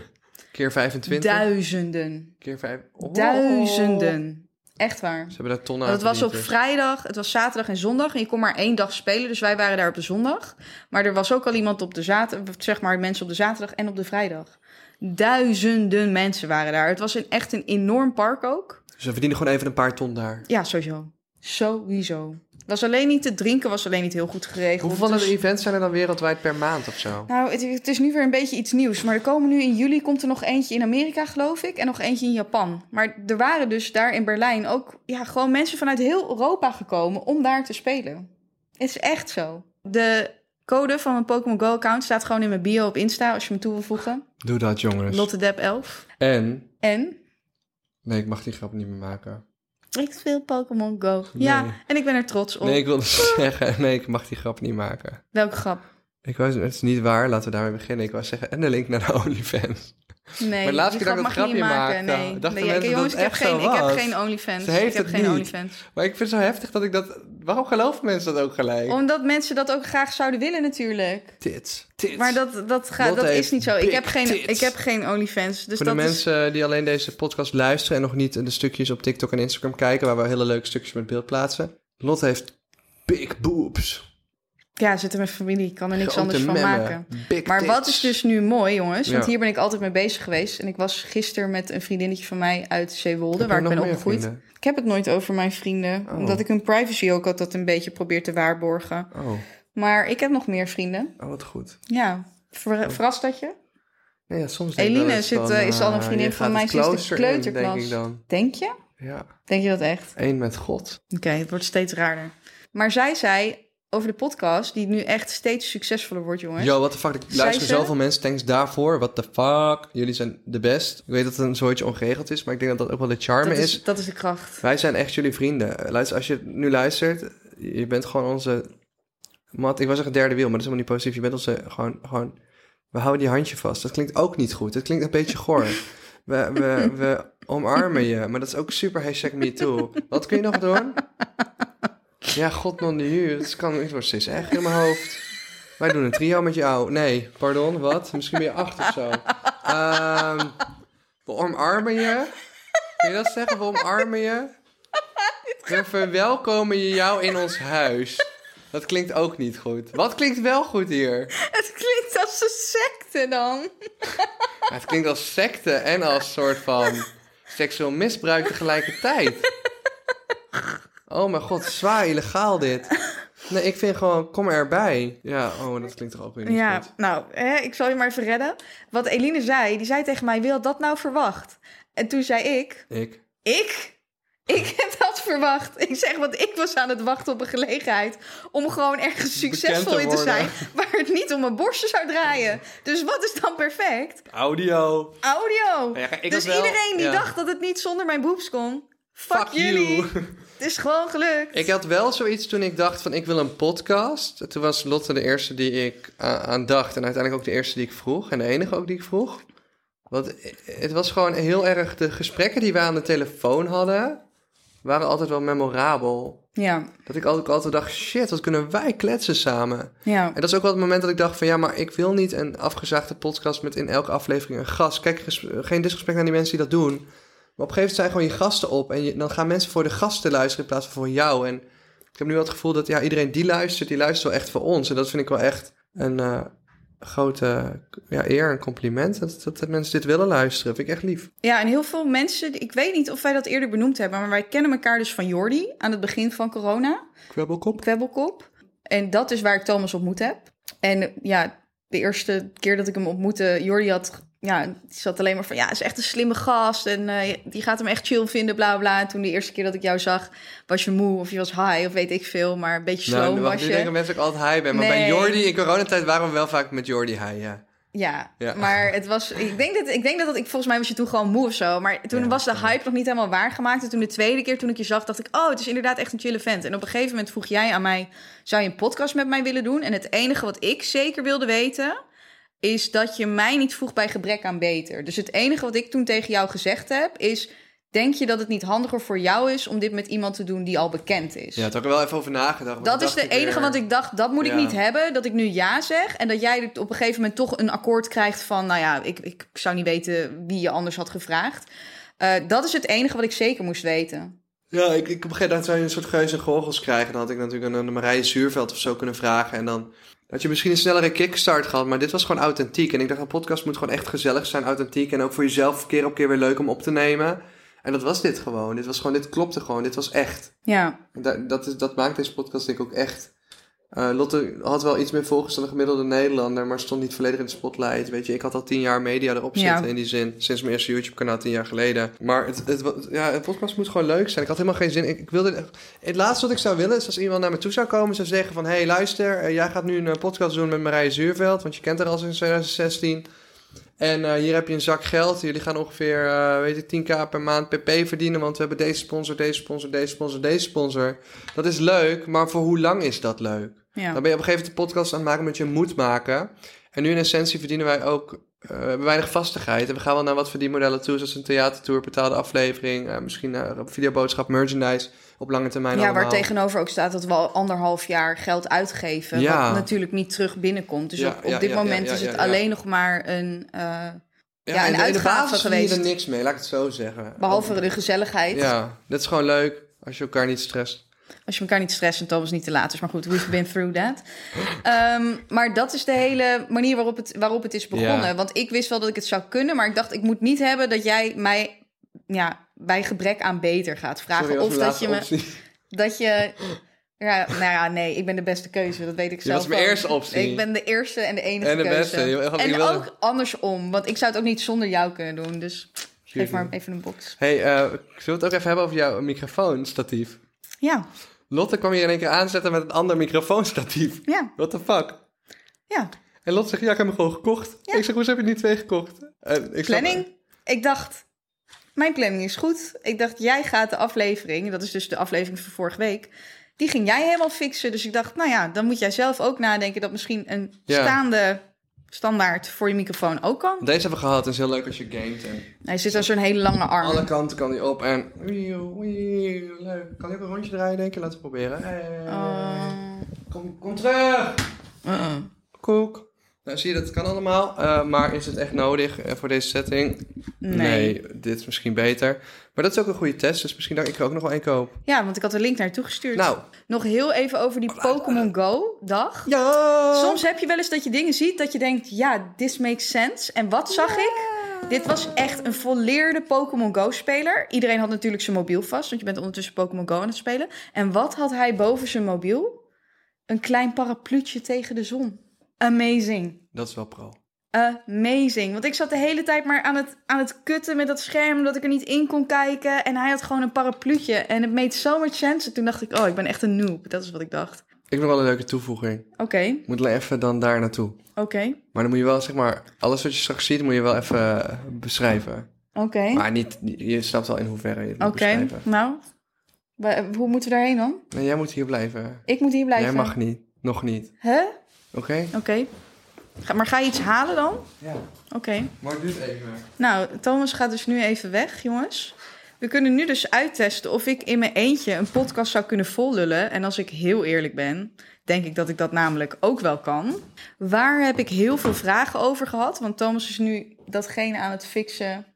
[SPEAKER 4] Keer 25?
[SPEAKER 5] Duizenden.
[SPEAKER 4] keer 5. Oh.
[SPEAKER 5] Duizenden. Echt waar.
[SPEAKER 4] Ze hebben daar tonnen aan
[SPEAKER 5] Dat was op
[SPEAKER 4] verdiend,
[SPEAKER 5] vrijdag, het was zaterdag en zondag. En je kon maar één dag spelen, dus wij waren daar op de zondag. Maar er was ook al iemand op de zaterdag, zeg maar mensen op de zaterdag en op de vrijdag. Duizenden mensen waren daar. Het was een, echt een enorm park ook.
[SPEAKER 4] dus. Ze verdienen gewoon even een paar ton daar.
[SPEAKER 5] Ja, sowieso. Sowieso. Was alleen niet te drinken, was alleen niet heel goed geregeld.
[SPEAKER 4] Hoeveel van
[SPEAKER 5] Dus-
[SPEAKER 4] de events zijn er dan wereldwijd per maand of zo?
[SPEAKER 5] nou, het, het is nu weer een beetje iets nieuws. Maar er komen nu in juli komt er nog eentje in Amerika, geloof ik. En nog eentje in Japan. Maar er waren dus daar in Berlijn ook ja, gewoon mensen vanuit heel Europa gekomen om daar te spelen. Het is echt zo. De code van mijn Pokémon Go-account staat gewoon in mijn bio op Insta als je me toe wil voegen.
[SPEAKER 4] Doe dat, jongens.
[SPEAKER 5] Lottedep 11.
[SPEAKER 4] En?
[SPEAKER 5] En
[SPEAKER 4] Nee, ik mag die grap niet meer maken.
[SPEAKER 5] ik speel Pokémon Go. Ja,
[SPEAKER 4] Nee.
[SPEAKER 5] en ik ben er trots op.
[SPEAKER 4] Nee, ik wilde zeggen, nee, ik mag die grap niet maken.
[SPEAKER 5] Welke grap?
[SPEAKER 4] Ik was, het is niet waar, laten we daarmee beginnen. Ik wou zeggen, en de link naar de OnlyFans.
[SPEAKER 5] Nee,
[SPEAKER 4] Maar de laatste
[SPEAKER 5] die
[SPEAKER 4] keer dat
[SPEAKER 5] grap
[SPEAKER 4] ik dat
[SPEAKER 5] mag je niet
[SPEAKER 4] grapje
[SPEAKER 5] maken.
[SPEAKER 4] maakte,
[SPEAKER 5] nee,
[SPEAKER 4] dachten
[SPEAKER 5] nee, ja,
[SPEAKER 4] mensen dat
[SPEAKER 5] jongens,
[SPEAKER 4] het
[SPEAKER 5] ik heb,
[SPEAKER 4] echt zo
[SPEAKER 5] geen, ik heb
[SPEAKER 4] was.
[SPEAKER 5] geen OnlyFans.
[SPEAKER 4] Ze heeft
[SPEAKER 5] ik heb
[SPEAKER 4] het
[SPEAKER 5] geen
[SPEAKER 4] niet.
[SPEAKER 5] OnlyFans.
[SPEAKER 4] Maar ik vind het zo heftig dat ik dat... Waarom geloven mensen dat ook gelijk?
[SPEAKER 5] Omdat mensen dat ook graag zouden willen natuurlijk.
[SPEAKER 4] Tits. Tits.
[SPEAKER 5] Maar dat, dat, gaat,
[SPEAKER 4] Lotte
[SPEAKER 5] dat is
[SPEAKER 4] heeft
[SPEAKER 5] niet zo. Ik
[SPEAKER 4] big
[SPEAKER 5] heb geen,
[SPEAKER 4] tits.
[SPEAKER 5] ik heb geen OnlyFans. Dus
[SPEAKER 4] Voor
[SPEAKER 5] dat
[SPEAKER 4] de
[SPEAKER 5] is...
[SPEAKER 4] mensen die alleen deze podcast luisteren en nog niet de stukjes op TikTok en Instagram kijken, waar we hele leuke stukjes met beeld plaatsen. Lot heeft big boobs.
[SPEAKER 5] Ja, zit in mijn familie. Ik kan er niks
[SPEAKER 4] Grote
[SPEAKER 5] anders van
[SPEAKER 4] memmen.
[SPEAKER 5] maken.
[SPEAKER 4] Big
[SPEAKER 5] Maar
[SPEAKER 4] tits.
[SPEAKER 5] wat is dus nu mooi, jongens? Want
[SPEAKER 4] Ja.
[SPEAKER 5] hier ben ik altijd mee bezig geweest. En ik was gisteren met een vriendinnetje van mij uit Zeewolde,
[SPEAKER 4] Heb
[SPEAKER 5] waar
[SPEAKER 4] je
[SPEAKER 5] ik ben
[SPEAKER 4] nog meer
[SPEAKER 5] opgegroeid.
[SPEAKER 4] vrienden?
[SPEAKER 5] Ik heb het nooit over mijn vrienden.
[SPEAKER 4] Oh.
[SPEAKER 5] Omdat ik hun privacy ook altijd een beetje probeer te waarborgen.
[SPEAKER 4] Oh,
[SPEAKER 5] Maar ik heb nog meer vrienden.
[SPEAKER 4] oh, wat goed.
[SPEAKER 5] Ja,
[SPEAKER 4] Oh.
[SPEAKER 5] Ver, verrast dat je?
[SPEAKER 4] Nee, ja, soms denk ik
[SPEAKER 5] Eline
[SPEAKER 4] wel eens
[SPEAKER 5] zit,
[SPEAKER 4] van,
[SPEAKER 5] eh, is al een
[SPEAKER 4] ah,
[SPEAKER 5] vriendin
[SPEAKER 4] je
[SPEAKER 5] van
[SPEAKER 4] gaat
[SPEAKER 5] mij
[SPEAKER 4] het
[SPEAKER 5] sinds de
[SPEAKER 4] klooster in,
[SPEAKER 5] kleuterklas.
[SPEAKER 4] denk ik dan.
[SPEAKER 5] Denk je?
[SPEAKER 4] Ja,
[SPEAKER 5] Denk je dat echt?
[SPEAKER 4] één met God.
[SPEAKER 5] Oké, het wordt steeds raarder. Maar zij zei over de podcast, die nu echt steeds succesvoller wordt, jongens.
[SPEAKER 4] Yo, what the fuck. Ik
[SPEAKER 5] Zei
[SPEAKER 4] luister
[SPEAKER 5] ze-
[SPEAKER 4] zoveel mensen. Thanks daarvoor. What the fuck. Jullie zijn de best. Ik weet dat het een soortje ongeregeld is, maar ik denk dat dat ook wel de charme
[SPEAKER 5] dat,
[SPEAKER 4] is.
[SPEAKER 5] is, dat is de kracht.
[SPEAKER 4] Wij zijn echt jullie vrienden. Eh, Luister, als je nu luistert, je bent gewoon onze... Mat, ik was zeggen derde wiel, maar dat is helemaal niet positief. Je bent onze gewoon... gewoon we houden die handje vast. Dat klinkt ook niet goed. Dat klinkt een beetje goor. We, we, we omarmen je, maar dat is ook super hashtag me too. Wat kun je nog doen? Ja, god man, nu. Het kan het wordt steeds echt in mijn hoofd. Wij doen een trio met jou. Nee, pardon, wat? Misschien ben je acht of zo. Ehm, we omarmen je. Kun je dat zeggen? We omarmen je. We verwelkomen je jou in ons huis. Dat klinkt ook niet goed. Wat klinkt wel goed hier?
[SPEAKER 5] Het klinkt als een secte dan.
[SPEAKER 4] Maar Het klinkt als secte en als soort van seksueel misbruik tegelijkertijd. Oh mijn god, zwaar illegaal dit. Nee, ik vind gewoon, kom erbij. Ja, oh, dat klinkt toch ook weer niet
[SPEAKER 5] Ja,
[SPEAKER 4] goed.
[SPEAKER 5] nou, hè, ik zal je maar even redden. Wat Eline zei, die zei tegen mij, wie had dat nou verwacht? En toen zei ik,
[SPEAKER 4] Ik.
[SPEAKER 5] ik? Ik heb dat verwacht. Ik zeg, want ik was aan het wachten op een gelegenheid om gewoon ergens succesvol
[SPEAKER 4] te
[SPEAKER 5] in te
[SPEAKER 4] worden.
[SPEAKER 5] zijn, waar het niet om mijn borsten zou draaien. Dus wat is dan perfect?
[SPEAKER 4] Audio.
[SPEAKER 5] Audio.
[SPEAKER 4] Ja, ik was
[SPEAKER 5] dus
[SPEAKER 4] wel-
[SPEAKER 5] iedereen die
[SPEAKER 4] ja.
[SPEAKER 5] dacht dat het niet zonder mijn boobs kon, fuck,
[SPEAKER 4] Fuck
[SPEAKER 5] jullie.
[SPEAKER 4] you.
[SPEAKER 5] Het is gewoon gelukt.
[SPEAKER 4] Ik had wel zoiets toen ik dacht van ik wil een podcast. Toen was Lotte de eerste die ik a- aan dacht. En uiteindelijk ook de eerste die ik vroeg. En de enige ook die ik vroeg. Want het was gewoon heel erg... De gesprekken die we aan de telefoon hadden... waren altijd wel memorabel.
[SPEAKER 5] Ja,
[SPEAKER 4] Dat ik altijd, altijd dacht, shit, wat kunnen wij kletsen samen?
[SPEAKER 5] ja.
[SPEAKER 4] En dat is ook wel het moment dat ik dacht van... ja, maar ik wil niet een afgezaagde podcast... met in elke aflevering een gast. Kijk, ges- geen disrespect naar die mensen die dat doen. Maar op een gegeven moment zijn gewoon je gasten op... en je- dan gaan mensen voor de gasten luisteren... in plaats van voor jou. En ik heb nu wel het gevoel dat ja, iedereen die luistert... die luistert wel echt voor ons. En dat vind ik wel echt een eh, grote ja, eer en compliment... Dat, dat, dat mensen dit willen luisteren. Vind ik echt lief.
[SPEAKER 5] Ja, en heel veel mensen, ik weet niet of wij dat eerder benoemd hebben, maar wij kennen elkaar dus van Jordi aan het begin van corona,
[SPEAKER 4] Krabbelkop.
[SPEAKER 5] Kwebbelkop. En dat is waar ik Thomas ontmoet heb. En eh, ja, de eerste keer dat ik hem ontmoette, Jordi had, ja, die zat alleen maar van, ja, is echt een slimme gast en eh, die gaat hem echt chill vinden, bla bla, bla. En toen de eerste keer dat ik jou zag, was je moe of je was high of weet ik veel, maar een beetje slow
[SPEAKER 4] Nou,
[SPEAKER 5] was
[SPEAKER 4] nu
[SPEAKER 5] je.
[SPEAKER 4] denken mensen ook altijd high ben. Maar bij
[SPEAKER 5] Nee.
[SPEAKER 4] Jordi in coronatijd waren we wel vaak met Jordi high, ja.
[SPEAKER 5] Ja,
[SPEAKER 4] Ja.
[SPEAKER 5] maar het was. Ik denk, dat, ik denk dat dat ik. Volgens mij was je toen gewoon moe of zo. Maar toen was de hype nog niet helemaal waargemaakt. En toen de tweede keer toen ik je zag, dacht ik: Oh, het is inderdaad echt een chille vent. En op een gegeven moment vroeg jij aan mij: Zou je een podcast met mij willen doen? En het enige wat ik zeker wilde weten. is dat je mij niet vroeg bij gebrek aan beter. Dus het enige wat ik toen tegen jou gezegd heb is... denk je dat het niet handiger voor jou is om dit met iemand te doen die al bekend is?
[SPEAKER 4] Ja, daar heb ik wel even over nagedacht. want
[SPEAKER 5] Dat
[SPEAKER 4] toen
[SPEAKER 5] is de
[SPEAKER 4] dacht
[SPEAKER 5] enige,
[SPEAKER 4] weer-
[SPEAKER 5] want ik dacht, dat moet
[SPEAKER 4] Ja.
[SPEAKER 5] ik niet hebben. Dat ik nu ja zeg. En dat jij op een gegeven moment toch een akkoord krijgt van... nou ja, ik, ik zou niet weten wie je anders had gevraagd. Eh, dat is het enige wat ik zeker moest weten.
[SPEAKER 4] Ja, ik, ik op een gegeven moment zou je een soort geus en gorgels krijgen. Dan had ik natuurlijk aan een Marije Zuurveld of zo kunnen vragen. En dan had je misschien een snellere kickstart gehad. Maar dit was gewoon authentiek. En ik dacht, een podcast moet gewoon echt gezellig zijn, authentiek. En ook voor jezelf keer op keer weer leuk om op te nemen. En dat was dit gewoon. Dit was gewoon, dit klopte gewoon. Dit was echt.
[SPEAKER 5] Ja,
[SPEAKER 4] En da- dat, is, dat maakt deze podcast denk ik ook echt. Eh, Lotte had wel iets meer volgers dan de gemiddelde Nederlander, maar stond niet volledig in de spotlight. Weet je, ik had al tien jaar media erop
[SPEAKER 5] Ja.
[SPEAKER 4] zitten in die zin, sinds mijn eerste YouTube-kanaal tien jaar geleden. Maar het, het, wa- ja, een podcast moet gewoon leuk zijn. Ik had helemaal geen zin. Ik, ik wilde, echt- het laatste wat ik zou willen is als iemand naar me toe zou komen en zou zeggen van... Hé, hey, luister, eh, jij gaat nu een eh, podcast doen met Marije Zuurveld, want je kent haar al sinds 2016. En eh, hier heb je een zak geld. Jullie gaan ongeveer, eh, weet ik, 10k per maand pp verdienen. Want we hebben deze sponsor, deze sponsor, deze sponsor, deze sponsor. Dat is leuk, maar voor hoe lang is dat leuk?
[SPEAKER 5] ja.
[SPEAKER 4] Dan ben je op een gegeven moment de podcast aan het maken met je moet maken. En nu in essentie verdienen wij ook eh, we hebben weinig vastigheid. En we gaan wel naar wat verdienmodellen toe. Zoals een theatertour, betaalde aflevering. eh, misschien eh, videoboodschap, merchandise. Op lange termijn
[SPEAKER 5] Ja,
[SPEAKER 4] allemaal.
[SPEAKER 5] waar tegenover ook staat dat we al anderhalf jaar geld uitgeven.
[SPEAKER 4] Ja.
[SPEAKER 5] Wat natuurlijk niet terug binnenkomt. Dus
[SPEAKER 4] Ja,
[SPEAKER 5] op, op
[SPEAKER 4] ja,
[SPEAKER 5] dit
[SPEAKER 4] ja, ja,
[SPEAKER 5] moment
[SPEAKER 4] ja,
[SPEAKER 5] is
[SPEAKER 4] ja,
[SPEAKER 5] het
[SPEAKER 4] ja.
[SPEAKER 5] alleen nog maar een. eh, ja,
[SPEAKER 4] en
[SPEAKER 5] een
[SPEAKER 4] de- in de
[SPEAKER 5] uitgave
[SPEAKER 4] basis verdien je er
[SPEAKER 5] geweest.
[SPEAKER 4] niks mee, laat ik het zo zeggen.
[SPEAKER 5] behalve de gezelligheid.
[SPEAKER 4] Ja, dat is gewoon leuk als je elkaar niet stresst.
[SPEAKER 5] Als je elkaar niet stress en Thomas niet te laat is. Maar goed, we've been through that. Ehm, maar dat is de hele manier waarop het, waarop het is begonnen.
[SPEAKER 4] Ja.
[SPEAKER 5] Want ik wist wel dat ik het zou kunnen. Maar ik dacht, ik moet niet hebben dat jij mij ja, bij gebrek aan beter gaat vragen.
[SPEAKER 4] Sorry, was
[SPEAKER 5] of
[SPEAKER 4] mijn
[SPEAKER 5] dat
[SPEAKER 4] laatste
[SPEAKER 5] je, me,
[SPEAKER 4] optie.
[SPEAKER 5] dat je... Ja, nou ja, nee, ik ben de beste keuze. Dat weet ik zelf
[SPEAKER 4] was mijn
[SPEAKER 5] ook.
[SPEAKER 4] eerste optie.
[SPEAKER 5] Ik ben de eerste en de enige
[SPEAKER 4] En de
[SPEAKER 5] keuze.
[SPEAKER 4] beste. Je- je- je
[SPEAKER 5] en
[SPEAKER 4] wilde-
[SPEAKER 5] ook andersom. Want ik zou het ook niet zonder jou kunnen doen. Dus geef maar even een box.
[SPEAKER 4] Hey, eh ik wil het ook even hebben over jouw microfoonstatief.
[SPEAKER 5] Ja,
[SPEAKER 4] Lotte kwam hier in één keer aanzetten met een ander microfoonstatief.
[SPEAKER 5] ja,
[SPEAKER 4] What the fuck?
[SPEAKER 5] ja.
[SPEAKER 4] En Lotte zegt, ja, ik heb hem gewoon gekocht.
[SPEAKER 5] Ja.
[SPEAKER 4] Ik zeg, hoezo heb je niet twee gekocht? En ik snap-
[SPEAKER 5] planning. Ik dacht, mijn planning is goed. Ik dacht, jij gaat de aflevering, dat is dus de aflevering van vorige week, die ging jij helemaal fixen. Dus ik dacht, nou ja, dan moet jij zelf ook nadenken dat misschien een
[SPEAKER 4] Ja.
[SPEAKER 5] staande standaard voor je microfoon ook kan.
[SPEAKER 4] Deze hebben we gehad. Het is heel leuk als je gamet. En
[SPEAKER 5] Hij zit aan zo'n hele lange arm.
[SPEAKER 4] alle kanten kan hij op. En wieuw, wieuw, leuk. Kan ik ook een rondje draaien, denk je? Laten we proberen. Hey.
[SPEAKER 5] Eh,
[SPEAKER 4] Kom, kom terug!
[SPEAKER 5] eh, eh.
[SPEAKER 4] Koek. Nou, zie je, dat kan allemaal. eh, maar is het echt nodig eh, voor deze setting?
[SPEAKER 5] Nee.
[SPEAKER 4] dit is misschien beter. Maar dat is ook een goede test. Dus misschien dat ik er ook nog wel één koop.
[SPEAKER 5] Ja, want ik had de link naartoe gestuurd.
[SPEAKER 4] Nou.
[SPEAKER 5] Nog heel even over die Pokémon Go-dag.
[SPEAKER 4] Ja!
[SPEAKER 5] Soms heb je wel eens dat je dingen ziet dat je denkt, ja, this makes sense. En wat zag ik? Dit was echt een volleerde Pokémon Go-speler. Iedereen had natuurlijk zijn mobiel vast, want je bent ondertussen Pokémon Go aan het spelen. En wat had hij boven zijn mobiel? Een klein parapluutje tegen de zon. Amazing.
[SPEAKER 4] Dat is wel pro.
[SPEAKER 5] Amazing. Want ik zat de hele tijd maar aan het, aan het kutten met dat scherm, dat ik er niet in kon kijken. En hij had gewoon een parapluutje. En het made so much sense. En toen dacht ik, oh, ik ben echt een noob. Dat is wat ik dacht.
[SPEAKER 4] Ik wil wel een leuke toevoeging.
[SPEAKER 5] Oké,
[SPEAKER 4] Moet alleen even dan daar naartoe.
[SPEAKER 5] oké,
[SPEAKER 4] Maar dan moet je wel, zeg maar, alles wat je straks ziet, moet je wel even eh, beschrijven.
[SPEAKER 5] oké.
[SPEAKER 4] Maar niet, je snapt wel in hoeverre je het moet
[SPEAKER 5] Oké,
[SPEAKER 4] beschrijven.
[SPEAKER 5] nou. we- hoe moeten we daarheen dan?
[SPEAKER 4] Nee, jij moet hier blijven.
[SPEAKER 5] Ik moet hier blijven.
[SPEAKER 4] Jij mag niet. Nog niet.
[SPEAKER 5] Hè?
[SPEAKER 4] Oké?
[SPEAKER 5] Oké. Ga- Maar ga je iets halen dan? Oké.
[SPEAKER 4] Ja. Maar het duurt even.
[SPEAKER 5] Nou, Thomas gaat dus nu even weg, jongens. We kunnen nu dus uittesten of ik in mijn eentje een podcast zou kunnen vollullen. En als ik heel eerlijk ben, denk ik dat ik dat namelijk ook wel kan. Waar heb ik heel veel vragen over gehad? Want Thomas is nu datgene aan het fixen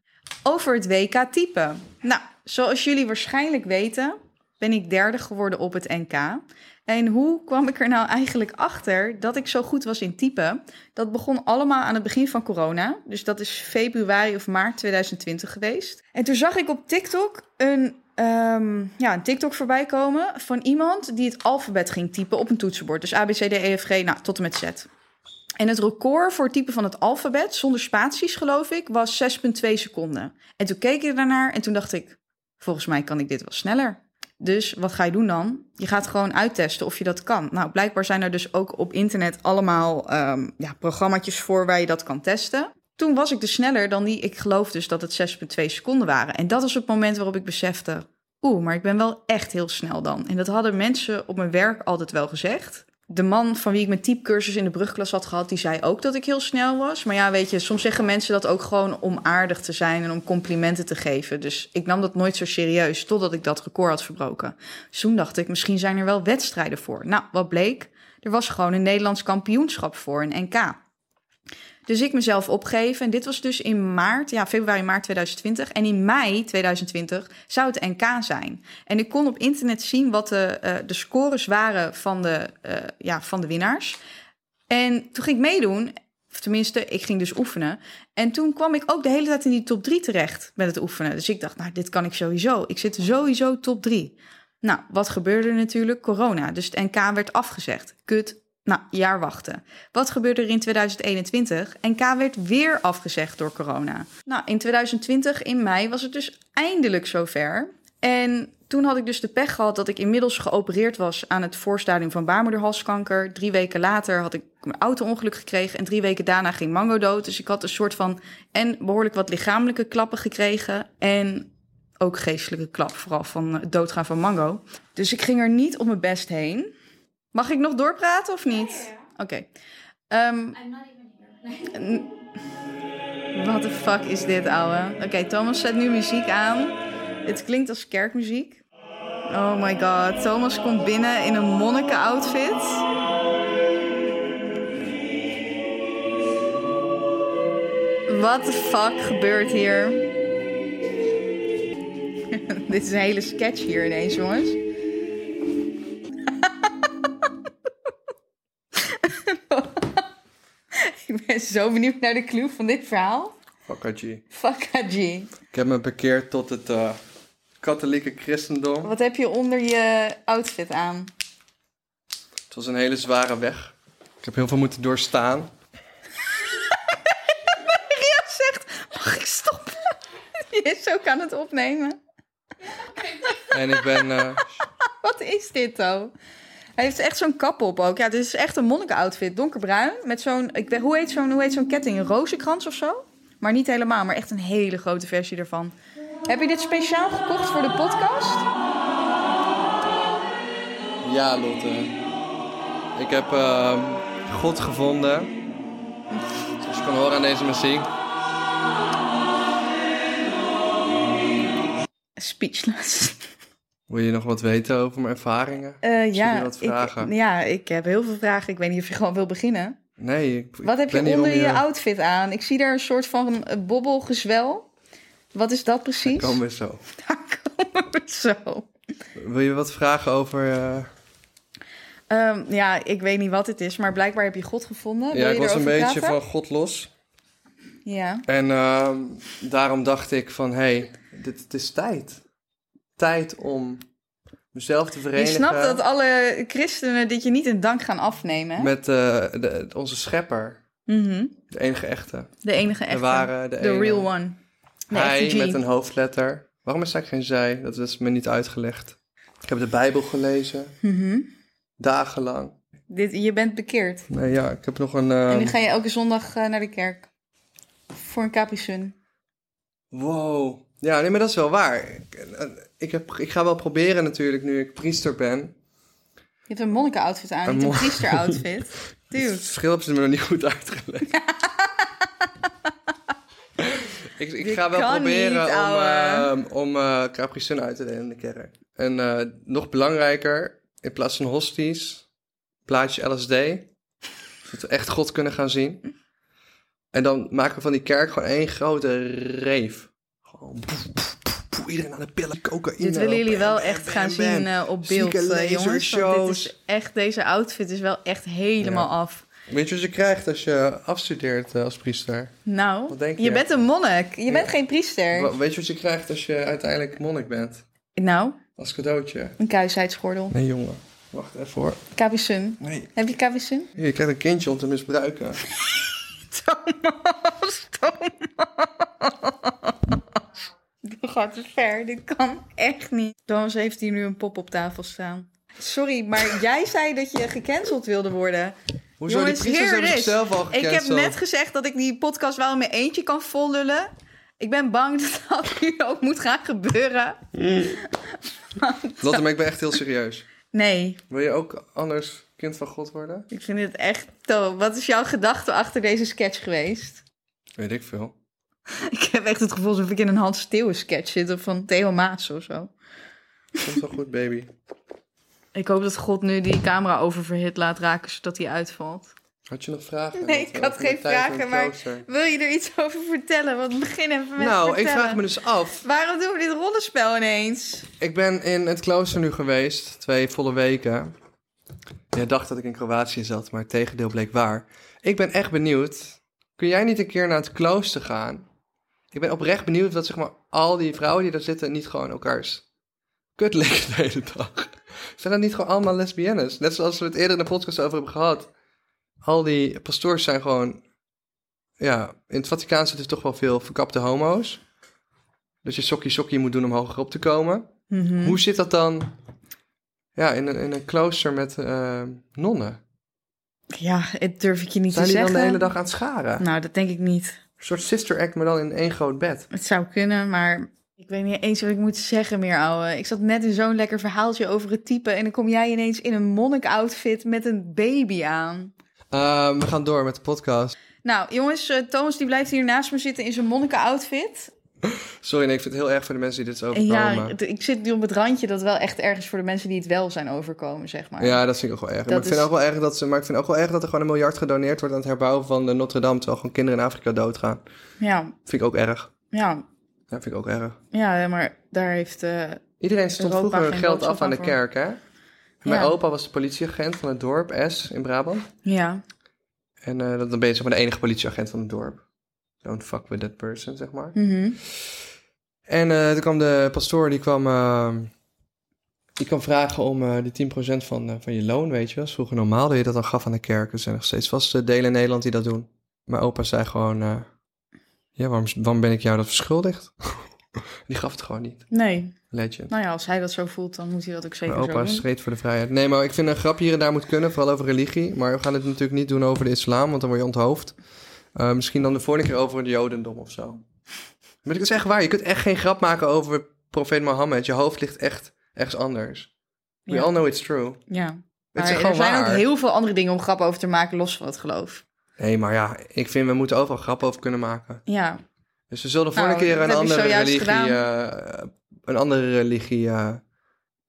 [SPEAKER 5] over het WK typen. Nou, zoals jullie waarschijnlijk weten, ben ik derde geworden op het NK. En hoe kwam ik er nou eigenlijk achter dat ik zo goed was in typen? Dat begon allemaal aan het begin van corona. Dus dat is februari of maart 2020 geweest. En toen zag ik op TikTok een, ehm, ja, een TikTok voorbij komen van iemand die het alfabet ging typen op een toetsenbord. Dus A, B, C, D, E, F, G, nou, tot en met Z. En het record voor het typen van het alfabet, zonder spaties geloof ik, was 6,2 seconden. En toen keek ik daarnaar en toen dacht ik, volgens mij kan ik dit wel sneller. Dus wat ga je doen dan? Je gaat gewoon uittesten of je dat kan. Nou, blijkbaar zijn er dus ook op internet allemaal ehm ja, programmaatjes voor waar je dat kan testen. Toen was ik dus sneller dan die, ik geloof dus dat het 6,2 seconden waren. En dat was het moment waarop ik besefte, oeh, maar ik ben wel echt heel snel dan. En dat hadden mensen op mijn werk altijd wel gezegd. de man van wie ik mijn typecursus in de brugklas had gehad, die zei ook dat ik heel snel was. Maar ja, weet je, soms zeggen mensen dat ook gewoon om aardig te zijn en om complimenten te geven. Dus ik nam dat nooit zo serieus totdat ik dat record had verbroken. Dus toen dacht ik, misschien zijn er wel wedstrijden voor. Nou, wat bleek? Er was gewoon een Nederlands kampioenschap voor, een NK. Dus ik mezelf opgeven. En dit was dus in maart, ja, februari, maart 2020. En in mei 2020 zou het NK zijn. En ik kon op internet zien wat de, eh, de scores waren van de, eh, ja, van de winnaars. En toen ging ik meedoen. Of tenminste, ik ging dus oefenen. En toen kwam ik ook de hele tijd in die top 3 terecht met het oefenen. Dus ik dacht, nou, dit kan ik sowieso. Ik zit sowieso top 3. Nou, wat gebeurde er natuurlijk? Corona. Dus het NK werd afgezegd. Kut. Nou, jaar wachten. Wat gebeurde er in 2021? NK werd weer afgezegd door corona. Nou, in 2020 in mei was het dus eindelijk zover. En toen had ik dus de pech gehad dat ik inmiddels geopereerd was aan het voorstadium van baarmoederhalskanker. Drie weken later had ik een auto-ongeluk gekregen en drie weken daarna ging Mango dood. Dus ik had een soort van en behoorlijk wat lichamelijke klappen gekregen en ook geestelijke klap, vooral van het doodgaan van Mango. Dus ik ging er niet op mijn best heen. Mag ik nog doorpraten of niet? Oké. Ehm, N- What the fuck is dit, ouwe? Oké, Thomas zet nu muziek aan. Het klinkt als kerkmuziek. Oh my god, Thomas komt binnen in een monniken-outfit. What the fuck gebeurt hier? Dit is een hele sketch hier ineens, jongens. Ik ben zo benieuwd naar de clue van dit verhaal.
[SPEAKER 4] Fuck G.
[SPEAKER 5] Fuck G.
[SPEAKER 4] Ik heb me bekeerd tot het eh, katholieke christendom.
[SPEAKER 5] Wat heb je onder je outfit aan?
[SPEAKER 4] Het was een hele zware weg. Ik heb heel veel moeten doorstaan.
[SPEAKER 5] Ria zegt, mag ik stoppen? Die is ook aan het opnemen.
[SPEAKER 4] En ik ben... eh,
[SPEAKER 5] Wat is dit dan? Hij heeft echt zo'n kap op ook. Ja, dit is echt een monniken-outfit. Donkerbruin. Met zo'n, ik weet, hoe heet zo'n, hoe heet zo'n ketting? Een rozenkrans of zo? Maar niet helemaal, maar echt een hele grote versie ervan. Heb je dit speciaal gekocht voor de podcast?
[SPEAKER 4] ja, Lotte. Ik heb ehm, God gevonden. Zoals je kan horen aan deze muziek.
[SPEAKER 5] Speechless.
[SPEAKER 4] Wil je nog wat weten over mijn ervaringen?
[SPEAKER 5] Eh, ja,
[SPEAKER 4] jullie wat vragen?
[SPEAKER 5] Ik, ja, ik heb heel veel vragen. Ik weet niet of je gewoon wil beginnen.
[SPEAKER 4] Nee, ik, ik
[SPEAKER 5] Wat heb je
[SPEAKER 4] ben hier om
[SPEAKER 5] onder je outfit aan? Ik zie daar een soort van eh, bobbelgezwel. Wat is dat precies?
[SPEAKER 4] Kom weer zo.
[SPEAKER 5] Daar komen we zo.
[SPEAKER 4] Wil je wat vragen over... eh,
[SPEAKER 5] Ehm, ja, ik weet niet wat het is, maar blijkbaar heb je God gevonden. Wil
[SPEAKER 4] Ja,
[SPEAKER 5] je
[SPEAKER 4] ik was een
[SPEAKER 5] erover
[SPEAKER 4] beetje
[SPEAKER 5] praten?
[SPEAKER 4] van God los.
[SPEAKER 5] Ja,
[SPEAKER 4] En ehm, daarom dacht ik van, hé, hey, dit, het is tijd. Tijd om mezelf te
[SPEAKER 5] je
[SPEAKER 4] verenigen
[SPEAKER 5] snapt dat alle christenen dit je niet in dank gaan afnemen. hè?
[SPEAKER 4] met eh, de, onze schepper.
[SPEAKER 5] Mhm.
[SPEAKER 4] De enige echte.
[SPEAKER 5] De enige echte.
[SPEAKER 4] De ware, de
[SPEAKER 5] The
[SPEAKER 4] enige.
[SPEAKER 5] real one. De
[SPEAKER 4] Hij
[SPEAKER 5] echte G.
[SPEAKER 4] met een hoofdletter. Waarom is eigenlijk geen zij? Dat is me niet uitgelegd. Ik heb de Bijbel gelezen,
[SPEAKER 5] Mhm.
[SPEAKER 4] dagenlang.
[SPEAKER 5] dit, je bent bekeerd.
[SPEAKER 4] Nee, ja, ik heb nog een...
[SPEAKER 5] en
[SPEAKER 4] ehm,
[SPEAKER 5] nu ga je elke zondag eh, naar de kerk. Voor een Capri Sun.
[SPEAKER 4] Wow. Ja, nee, maar dat is wel waar. Ik, eh, ik, heb, ik ga wel proberen natuurlijk, nu ik priester ben.
[SPEAKER 5] Je hebt een monniken-outfit aan,
[SPEAKER 4] Een
[SPEAKER 5] niet een
[SPEAKER 4] mon-
[SPEAKER 5] priester-outfit.
[SPEAKER 4] Het
[SPEAKER 5] Dude.
[SPEAKER 4] Dus verschil hebben ze me nog niet goed uitgelegd. ik, ik
[SPEAKER 5] Dit
[SPEAKER 4] ga wel
[SPEAKER 5] kan
[SPEAKER 4] proberen
[SPEAKER 5] niet,
[SPEAKER 4] om,
[SPEAKER 5] ouwe.
[SPEAKER 4] eh, om eh, Capri Sun uit te delen in de kerk. En eh, nog belangrijker, in plaats van hosties, plaatje LSD. Zodat we echt God kunnen gaan zien. En dan maken we van die kerk gewoon één grote reef. Gewoon poef, poef, poef, poef, iedereen aan de pillen, cocaïne.
[SPEAKER 5] Dit willen jullie
[SPEAKER 4] bam,
[SPEAKER 5] wel
[SPEAKER 4] bam,
[SPEAKER 5] echt
[SPEAKER 4] bam,
[SPEAKER 5] gaan
[SPEAKER 4] bam.
[SPEAKER 5] zien eh, op beeld,
[SPEAKER 4] Zieke
[SPEAKER 5] eh, jongens. Want dit
[SPEAKER 4] lasershows.
[SPEAKER 5] is echt, deze outfit is wel echt helemaal af.
[SPEAKER 4] Weet je wat je krijgt als je afstudeert eh, als priester?
[SPEAKER 5] Nou,
[SPEAKER 4] Wat denk
[SPEAKER 5] je?
[SPEAKER 4] je?
[SPEAKER 5] bent een monnik. Je bent geen priester.
[SPEAKER 4] Wa- Weet je wat je krijgt als je uiteindelijk monnik bent?
[SPEAKER 5] Nou,
[SPEAKER 4] Als cadeautje.
[SPEAKER 5] een kuisheidsgordel.
[SPEAKER 4] Nee, jongen. Wacht even hoor.
[SPEAKER 5] Kavisum.
[SPEAKER 4] Nee.
[SPEAKER 5] Heb je kavisum?
[SPEAKER 4] Je krijgt een kindje om te misbruiken.
[SPEAKER 5] Thomas, Thomas. Dit gaat te ver. Dit kan echt niet. Thomas heeft hier nu een pop op tafel staan. Sorry, maar jij zei dat je gecanceld wilde worden.
[SPEAKER 4] Hoezo?
[SPEAKER 5] Jongens,
[SPEAKER 4] die priesters
[SPEAKER 5] here
[SPEAKER 4] hebben
[SPEAKER 5] it is.
[SPEAKER 4] zichzelf al
[SPEAKER 5] Ik
[SPEAKER 4] gecanceld.
[SPEAKER 5] heb net gezegd dat ik die podcast wel in mijn eentje kan vollullen. Ik ben bang dat dat nu ook moet gaan gebeuren.
[SPEAKER 4] Lotte, maar ik ben echt heel serieus.
[SPEAKER 5] Nee,
[SPEAKER 4] Wil je ook anders... kind van God worden?
[SPEAKER 5] Ik vind het echt... Tof. Wat is jouw gedachte achter deze sketch geweest?
[SPEAKER 4] Weet ik veel.
[SPEAKER 5] Ik heb echt het gevoel alsof ik in een Hans Steeuwen sketch zit of van Theo Maas of zo.
[SPEAKER 4] Komt wel goed, baby.
[SPEAKER 5] Ik hoop dat God nu die camera oververhit laat raken zodat hij uitvalt.
[SPEAKER 4] Had je nog vragen?
[SPEAKER 5] Nee,
[SPEAKER 4] Want we
[SPEAKER 5] ik had
[SPEAKER 4] hebben
[SPEAKER 5] geen
[SPEAKER 4] de tijd
[SPEAKER 5] vragen,
[SPEAKER 4] van
[SPEAKER 5] maar-
[SPEAKER 4] klooster.
[SPEAKER 5] Wil je er iets over vertellen? Want begin even met
[SPEAKER 4] Nou, ik
[SPEAKER 5] vertellen.
[SPEAKER 4] vraag me dus af.
[SPEAKER 5] Waarom doen we dit rollenspel ineens?
[SPEAKER 4] Ik ben in het klooster nu geweest, twee volle weken. Jij dacht dat ik in Kroatië zat, maar het tegendeel bleek waar. Ik ben echt benieuwd. Kun jij niet een keer naar het klooster gaan? Ik ben oprecht benieuwd dat zeg maar, al die vrouwen die daar zitten niet gewoon elkaars kut likken de hele dag. Zijn dat niet gewoon allemaal lesbiennes? Net zoals we het eerder in de podcast over hebben gehad. Al die pastoors zijn gewoon... Ja, in het Vaticaan zitten toch wel veel verkapte homo's. Dus je sokkie sokkie moet doen om hoger op te komen.
[SPEAKER 5] Mhm.
[SPEAKER 4] Hoe zit dat dan ja, in, een, in een klooster met eh, nonnen?
[SPEAKER 5] Ja, het durf ik je niet
[SPEAKER 4] Zijn
[SPEAKER 5] te
[SPEAKER 4] die dan
[SPEAKER 5] zeggen.
[SPEAKER 4] de hele dag aan het scharen?
[SPEAKER 5] Nou, dat denk ik niet.
[SPEAKER 4] Een soort sister act, maar dan in één groot bed.
[SPEAKER 5] Het zou kunnen, maar ik weet niet eens wat ik moet zeggen meer, ouwe. Ik zat net in zo'n lekker verhaaltje over het type en dan kom jij ineens in een monnik-outfit met een baby aan.
[SPEAKER 4] Eh, we gaan door met de podcast.
[SPEAKER 5] Nou, jongens, eh, Thomas die blijft hier naast me zitten in zijn monniken-outfit.
[SPEAKER 4] Sorry, nee, ik vind het heel erg voor de mensen die dit is
[SPEAKER 5] En
[SPEAKER 4] overkomen.
[SPEAKER 5] ja,
[SPEAKER 4] Ja,
[SPEAKER 5] het- ik zit nu op het randje dat wel echt ergens voor de mensen die het wel zijn overkomen, zeg maar.
[SPEAKER 4] dat vind ik ook wel erg.
[SPEAKER 5] Dat
[SPEAKER 4] Maar ik, vind
[SPEAKER 5] is-
[SPEAKER 4] ook wel erg dat ze, maar ik vind ook wel erg dat er gewoon een miljard gedoneerd wordt aan het herbouwen van de Notre Dame. Terwijl gewoon kinderen in Afrika doodgaan.
[SPEAKER 5] ja,
[SPEAKER 4] Vind ik ook erg.
[SPEAKER 5] ja,
[SPEAKER 4] Ja, vind ik ook erg.
[SPEAKER 5] ja, maar daar heeft... eh,
[SPEAKER 4] Iedereen stond
[SPEAKER 5] Europa
[SPEAKER 4] vroeger
[SPEAKER 5] geen
[SPEAKER 4] geld
[SPEAKER 5] boodschap
[SPEAKER 4] af aan de
[SPEAKER 5] over.
[SPEAKER 4] kerk, hè? Mijn
[SPEAKER 5] Ja.
[SPEAKER 4] opa was de politieagent van het dorp S in Brabant.
[SPEAKER 5] ja,
[SPEAKER 4] En eh, dat dan ben je zeg maar de enige politieagent van het dorp. Don't fuck with that person, zeg maar.
[SPEAKER 5] mhm.
[SPEAKER 4] En eh, toen kwam de pastoor, die kwam, eh, die kwam vragen om eh, die 10% van, eh, van je loon, weet je wel. Is Vroeger normaal dat je dat dan gaf aan de kerk. Er zijn nog steeds vast eh, delen in Nederland die dat doen. Mijn opa zei gewoon, eh, ja, waarom, waarom ben ik jou dat verschuldigd? die gaf het gewoon niet.
[SPEAKER 5] nee.
[SPEAKER 4] Legend.
[SPEAKER 5] Nou ja, als hij dat zo voelt, dan moet hij dat ook zeker
[SPEAKER 4] Mijn
[SPEAKER 5] zo
[SPEAKER 4] opa
[SPEAKER 5] doen.
[SPEAKER 4] streed voor de vrijheid. Nee, maar ik vind een grap hier en daar moet kunnen, vooral over religie. Maar we gaan het natuurlijk niet doen over de islam, want dan word je onthoofd. Eh, misschien dan de volgende keer over het jodendom of zo. Maar dat is echt waar. Je kunt echt geen grap maken over profeet Mohammed. Je hoofd ligt echt ergens anders. We
[SPEAKER 5] Ja.
[SPEAKER 4] all know it's true.
[SPEAKER 5] Ja.
[SPEAKER 4] Het
[SPEAKER 5] Maar
[SPEAKER 4] is
[SPEAKER 5] er
[SPEAKER 4] gewoon
[SPEAKER 5] zijn
[SPEAKER 4] waar.
[SPEAKER 5] ook heel veel andere dingen om grappen over te maken, los van het geloof.
[SPEAKER 4] Nee, maar ja, ik vind we moeten overal grappen over kunnen maken.
[SPEAKER 5] Ja,
[SPEAKER 4] Dus we zullen de volgende
[SPEAKER 5] Nou,
[SPEAKER 4] keer
[SPEAKER 5] dat
[SPEAKER 4] een
[SPEAKER 5] heb je
[SPEAKER 4] andere,
[SPEAKER 5] zojuist
[SPEAKER 4] religie, eh, een andere religie eh,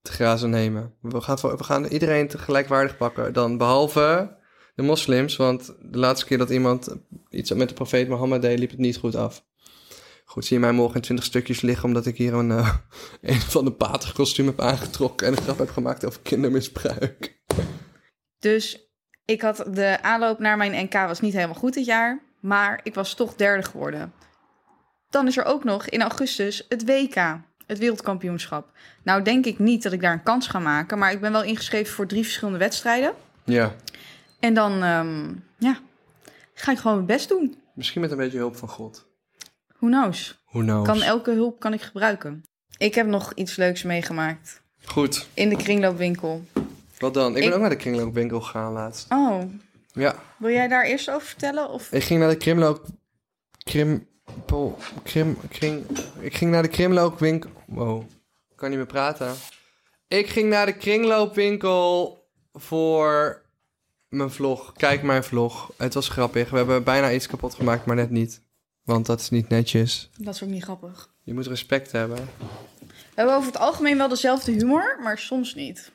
[SPEAKER 4] te grazen nemen. We gaan, voor- we gaan iedereen tegelijkwaardig pakken. Dan behalve de moslims, want de laatste keer dat iemand iets met de profeet Mohammed deed, liep het niet goed af. Goed, zie je mij morgen in twintig stukjes liggen omdat ik hier een, eh, een van de pater kostuum heb aangetrokken en een grap heb gemaakt over kindermisbruik.
[SPEAKER 5] Dus ik had de aanloop naar mijn NK was niet helemaal goed dit jaar, maar ik was toch derde geworden. Dan is er ook nog in augustus het WK, het wereldkampioenschap. Nou denk ik niet dat ik daar een kans ga maken, maar ik ben wel ingeschreven voor drie verschillende wedstrijden.
[SPEAKER 4] Ja,
[SPEAKER 5] En dan, ehm, ja, ga ik gewoon mijn best doen.
[SPEAKER 4] misschien met een beetje hulp van God.
[SPEAKER 5] Who knows?
[SPEAKER 4] Who knows?
[SPEAKER 5] Kan elke hulp kan ik gebruiken. Ik heb nog iets leuks meegemaakt
[SPEAKER 4] Goed,
[SPEAKER 5] in de kringloopwinkel.
[SPEAKER 4] wat dan? Ik ben
[SPEAKER 5] Ik-
[SPEAKER 4] ook naar de kringloopwinkel gegaan laatst.
[SPEAKER 5] Oh,
[SPEAKER 4] Ja,
[SPEAKER 5] wil jij daar eerst over vertellen? Of
[SPEAKER 4] Ik ging naar de krimloop... Krim... Pol, krim... Kring... Ik ging naar de krimloopwinkel... Wow. Ik kan niet meer praten. Ik ging naar de kringloopwinkel voor mijn vlog. Kijk mijn vlog. Het was grappig. We hebben bijna iets kapot gemaakt, maar net niet. Want dat is niet netjes.
[SPEAKER 5] dat is ook niet grappig.
[SPEAKER 4] Je moet respect hebben. Oh,
[SPEAKER 5] We hebben over het algemeen wel dezelfde humor, maar soms niet.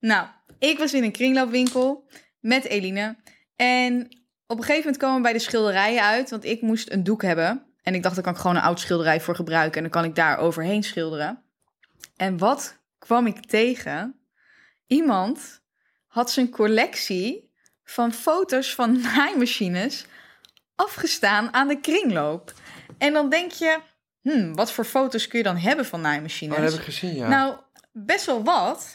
[SPEAKER 5] Nou, ik was in een kringloopwinkel met Eline. En op een gegeven moment komen we bij de schilderijen uit, want ik moest een doek hebben. En ik dacht, daar kan ik gewoon een oud schilderij voor gebruiken en dan kan ik daar overheen schilderen. En wat kwam ik tegen? Iemand had zijn collectie van foto's van naaimachines afgestaan aan de kringloop. En dan denk je, hmm, wat voor foto's kun je dan hebben van
[SPEAKER 4] Oh,
[SPEAKER 5] naaimachines?
[SPEAKER 4] dat heb ik gezien, ja.
[SPEAKER 5] Nou, best wel wat.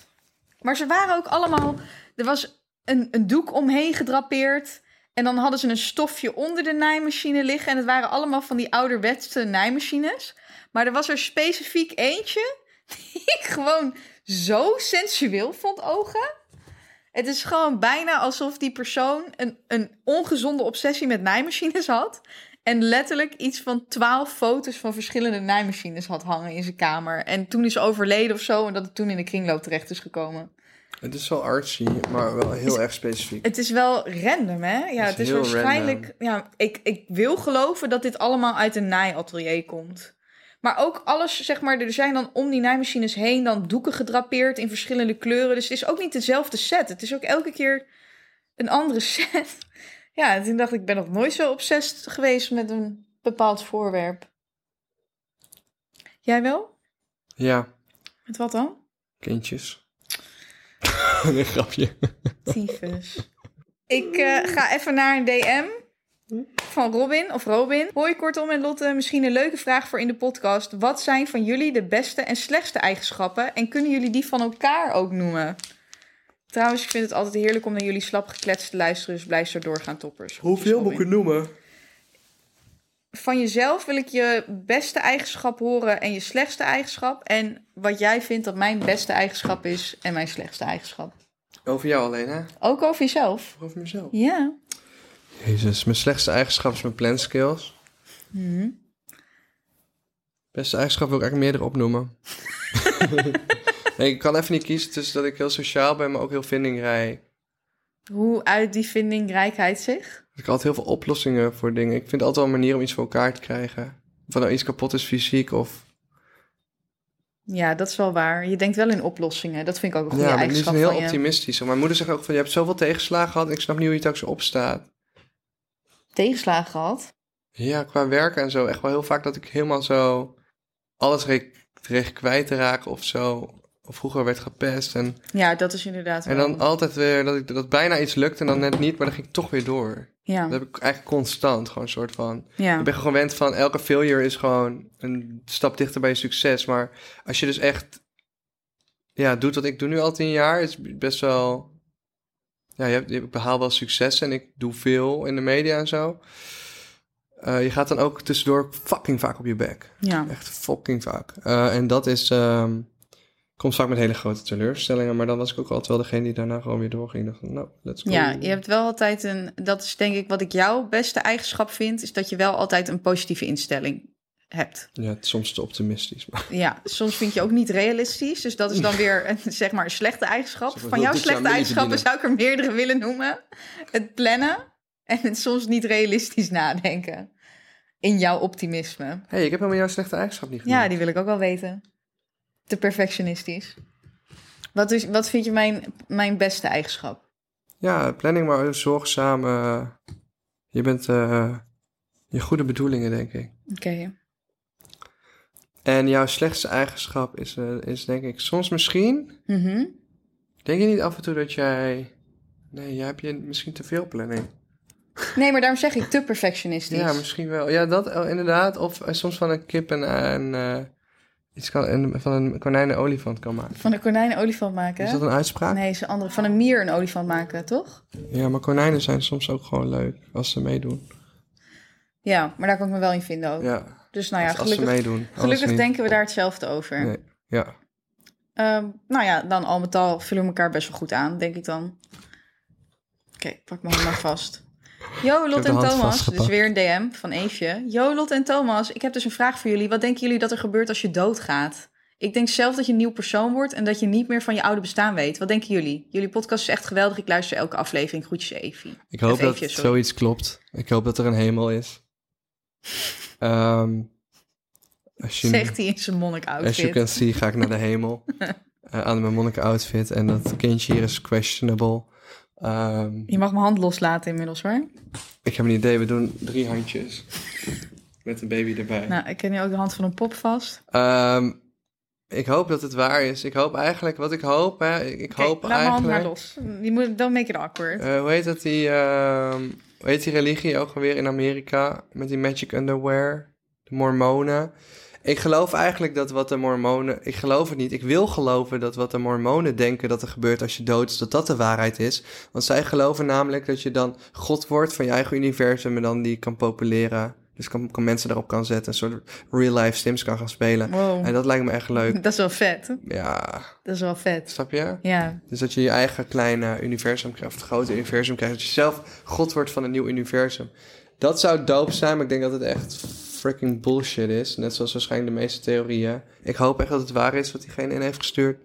[SPEAKER 5] Maar ze waren ook allemaal. Er was een, een doek omheen gedrapeerd. En dan hadden ze een stofje onder de naaimachine liggen. En het waren allemaal van die ouderwetse naaimachines. Maar er was er specifiek eentje. Die ik gewoon zo sensueel vond ogen. Het is gewoon bijna alsof die persoon een, een ongezonde obsessie met naaimachines had. En letterlijk iets van twaalf foto's van verschillende naaimachines had hangen in zijn kamer. En toen is ze overleden of zo. En dat het toen in de kringloop terecht is gekomen.
[SPEAKER 4] Het is wel artsy, maar wel heel erg specifiek.
[SPEAKER 5] Het is wel random, hè? Ja,
[SPEAKER 4] is
[SPEAKER 5] het is
[SPEAKER 4] heel
[SPEAKER 5] waarschijnlijk. Ja, ik, ik wil geloven dat dit allemaal uit een naaiatelier komt. Maar ook alles, zeg maar, er zijn dan om die naaimachines heen dan doeken gedrapeerd in verschillende kleuren. Dus het is ook niet dezelfde set. Het is ook elke keer een andere set. Ja, en toen dacht ik, ik ben nog nooit zo obsessed geweest met een bepaald voorwerp. Jij wel?
[SPEAKER 4] Ja,
[SPEAKER 5] Met wat dan?
[SPEAKER 4] kindjes. een grapje.
[SPEAKER 5] Tyfus. Ik eh, ga even naar een DM van Robin of Robin. Hoi, kortom en Lotte. Misschien een leuke vraag voor in de podcast. Wat zijn van jullie de beste en slechtste eigenschappen? En kunnen jullie die van elkaar ook noemen? Trouwens, ik vind het altijd heerlijk om naar jullie slap gekletst te luisteren. Dus blijf zo doorgaan, toppers.
[SPEAKER 4] Hoeveel
[SPEAKER 5] Robin.
[SPEAKER 4] moet ik het noemen?
[SPEAKER 5] Van jezelf wil ik je beste eigenschap horen en je slechtste eigenschap. En wat jij vindt dat mijn beste eigenschap is en mijn slechtste eigenschap.
[SPEAKER 4] Over jou alleen, hè?
[SPEAKER 5] Ook over jezelf.
[SPEAKER 4] Of over mezelf?
[SPEAKER 5] Ja.
[SPEAKER 4] Jezus, mijn slechtste eigenschap is mijn plan skills.
[SPEAKER 5] Mhm.
[SPEAKER 4] Beste eigenschap wil ik eigenlijk meerdere opnoemen. nee, ik kan even niet kiezen tussen dat ik heel sociaal ben, maar ook heel vindingrijk.
[SPEAKER 5] Hoe uit die vindingrijkheid zich?
[SPEAKER 4] Ik had altijd heel veel oplossingen voor dingen. Ik vind altijd wel een manier om iets voor elkaar te krijgen. Of er nou iets kapot is fysiek of...
[SPEAKER 5] Ja, dat is wel waar. Je denkt wel in oplossingen. Dat vind ik ook een goede
[SPEAKER 4] Ja, maar die
[SPEAKER 5] eigenschap
[SPEAKER 4] zijn heel
[SPEAKER 5] van je.
[SPEAKER 4] optimistisch. Mijn moeder zegt ook van, je hebt zoveel tegenslagen gehad... en ik snap niet hoe je telkens opstaat.
[SPEAKER 5] Tegenslagen gehad.
[SPEAKER 4] Ja, qua werken en zo. Echt wel heel vaak dat ik helemaal zo... alles re- dreig kwijt te raken of zo. Of vroeger werd gepest. En,
[SPEAKER 5] Ja, dat is inderdaad
[SPEAKER 4] en
[SPEAKER 5] wel.
[SPEAKER 4] dan altijd weer dat, ik, dat bijna iets lukt en dan net niet... maar dan ging ik toch weer door.
[SPEAKER 5] Ja,
[SPEAKER 4] Dat heb ik eigenlijk constant gewoon een soort van...
[SPEAKER 5] ja.
[SPEAKER 4] Ik ben gewoon gewend van elke failure is gewoon een stap dichter bij je succes. Maar als je dus echt ja, doet wat ik doe nu al tien jaar, is best wel. Ja, je hebt, ik behaal wel succes en ik doe veel in de media en zo. Eh, je gaat dan ook tussendoor fucking vaak op je bek.
[SPEAKER 5] ja.
[SPEAKER 4] Echt fucking vaak. Eh, en dat is. ehm, komt vaak met hele grote teleurstellingen. Maar dan was ik ook altijd wel degene die daarna gewoon weer doorging. Ik dacht, van, nou, let's go.
[SPEAKER 5] ja, je hebt wel altijd een... Dat is denk ik wat ik jouw beste eigenschap vind... is dat je wel altijd een positieve instelling hebt.
[SPEAKER 4] ja, het is soms te optimistisch. Maar
[SPEAKER 5] Ja, soms vind je ook niet realistisch. Dus dat is dan weer een, zeg maar, een slechte eigenschap.
[SPEAKER 4] Zeg maar,
[SPEAKER 5] Van
[SPEAKER 4] wil
[SPEAKER 5] jouw
[SPEAKER 4] dit jaar
[SPEAKER 5] slechte
[SPEAKER 4] meer
[SPEAKER 5] eigenschappen zou
[SPEAKER 4] verdienen?
[SPEAKER 5] ik er meerdere willen noemen. Het plannen en het soms niet realistisch nadenken. In jouw optimisme.
[SPEAKER 4] hey, ik heb helemaal jouw slechte eigenschap niet genoemd.
[SPEAKER 5] Ja, die wil ik ook wel weten. Te perfectionistisch. Wat, is, wat vind je mijn, mijn beste eigenschap?
[SPEAKER 4] Ja, planning, maar ook zorgzaam. eh, je bent eh, je goede bedoelingen, denk ik.
[SPEAKER 5] Oké.
[SPEAKER 4] En jouw slechtste eigenschap is, eh, is denk ik, soms misschien.
[SPEAKER 5] Mhm.
[SPEAKER 4] Denk je niet af en toe dat jij. Nee, jij hebt je misschien te veel planning.
[SPEAKER 5] Nee, maar daarom zeg ik te perfectionistisch.
[SPEAKER 4] Ja, misschien wel. Ja, dat eh, inderdaad. Of eh, soms van een kip en eh, een. eh, iets kan, en van een konijn een olifant kan maken.
[SPEAKER 5] Van een konijn een olifant maken.
[SPEAKER 4] Is
[SPEAKER 5] hè?
[SPEAKER 4] dat een uitspraak?
[SPEAKER 5] Nee, is een andere. Van een mier een olifant maken, toch?
[SPEAKER 4] Ja, maar konijnen zijn soms ook gewoon leuk als ze meedoen.
[SPEAKER 5] Ja, maar daar kan ik me wel in vinden ook.
[SPEAKER 4] Ja,
[SPEAKER 5] Dus nou ja,
[SPEAKER 4] als ze
[SPEAKER 5] gelukkig,
[SPEAKER 4] meedoen. Anders
[SPEAKER 5] gelukkig
[SPEAKER 4] niet.
[SPEAKER 5] denken we daar hetzelfde over.
[SPEAKER 4] Nee, ja.
[SPEAKER 5] Ehm, nou ja, dan al met al vullen we elkaar best wel goed aan, denk ik dan. Oké, pak mijn hand maar vast. Yo, Lot
[SPEAKER 4] de
[SPEAKER 5] en
[SPEAKER 4] hand
[SPEAKER 5] Thomas.
[SPEAKER 4] vastgepakt.
[SPEAKER 5] Dus weer een DM van Eefje. Yo, Lot en Thomas. Ik heb dus een vraag voor jullie. Wat denken jullie dat er gebeurt als je doodgaat? Ik denk zelf dat je een nieuw persoon wordt en dat je niet meer van je oude bestaan weet. Wat denken jullie? Jullie podcast is echt geweldig. Ik luister elke aflevering. Groetjes, Eefje.
[SPEAKER 4] Ik hoop
[SPEAKER 5] Of
[SPEAKER 4] dat
[SPEAKER 5] eventjes, sorry.
[SPEAKER 4] zoiets klopt. Ik hoop dat er een hemel is. Ehm, als je,
[SPEAKER 5] Zegt hij in zijn monnik
[SPEAKER 4] as you
[SPEAKER 5] outfit.
[SPEAKER 4] can see, ga ik naar de hemel. Eh, aan mijn monnik outfit. En dat kindje hier is questionable. Ehm,
[SPEAKER 5] Je mag mijn hand loslaten inmiddels hoor.
[SPEAKER 4] ik heb een idee, we doen drie handjes. Met een baby erbij.
[SPEAKER 5] Nou, ik heb nu ook de hand van een pop vast.
[SPEAKER 4] Ehm, ik hoop dat het waar is. Ik hoop eigenlijk, wat ik hoop, hè, ik ik
[SPEAKER 5] Kijk,
[SPEAKER 4] hoop
[SPEAKER 5] laat mijn hand
[SPEAKER 4] eigenlijk...
[SPEAKER 5] maar los. Je moet, don't make it awkward.
[SPEAKER 4] Eh, hoe heet dat die, ehm, hoe heet die religie ook alweer in Amerika? Met die magic underwear, de mormonen. Ik geloof eigenlijk dat wat de mormonen... Ik geloof het niet. Ik wil geloven dat wat de mormonen denken dat er gebeurt als je dood is, dat dat de waarheid is. Want zij geloven namelijk dat je dan God wordt van je eigen universum en dan die kan populeren. Dus kan, kan mensen daarop kan zetten, een soort real-life Sims kan gaan spelen.
[SPEAKER 5] Wow.
[SPEAKER 4] En dat lijkt me echt leuk.
[SPEAKER 5] Dat is wel vet.
[SPEAKER 4] Ja,
[SPEAKER 5] Dat is wel vet.
[SPEAKER 4] snap je?
[SPEAKER 5] Ja,
[SPEAKER 4] Dus dat je je eigen kleine universum krijgt, of het grote universum krijgt. Dat je zelf god wordt van een nieuw universum. Dat zou dope zijn, maar ik denk dat het echt freaking bullshit is. Net zoals waarschijnlijk de meeste theorieën. Ik hoop echt dat het waar is wat diegene in heeft gestuurd.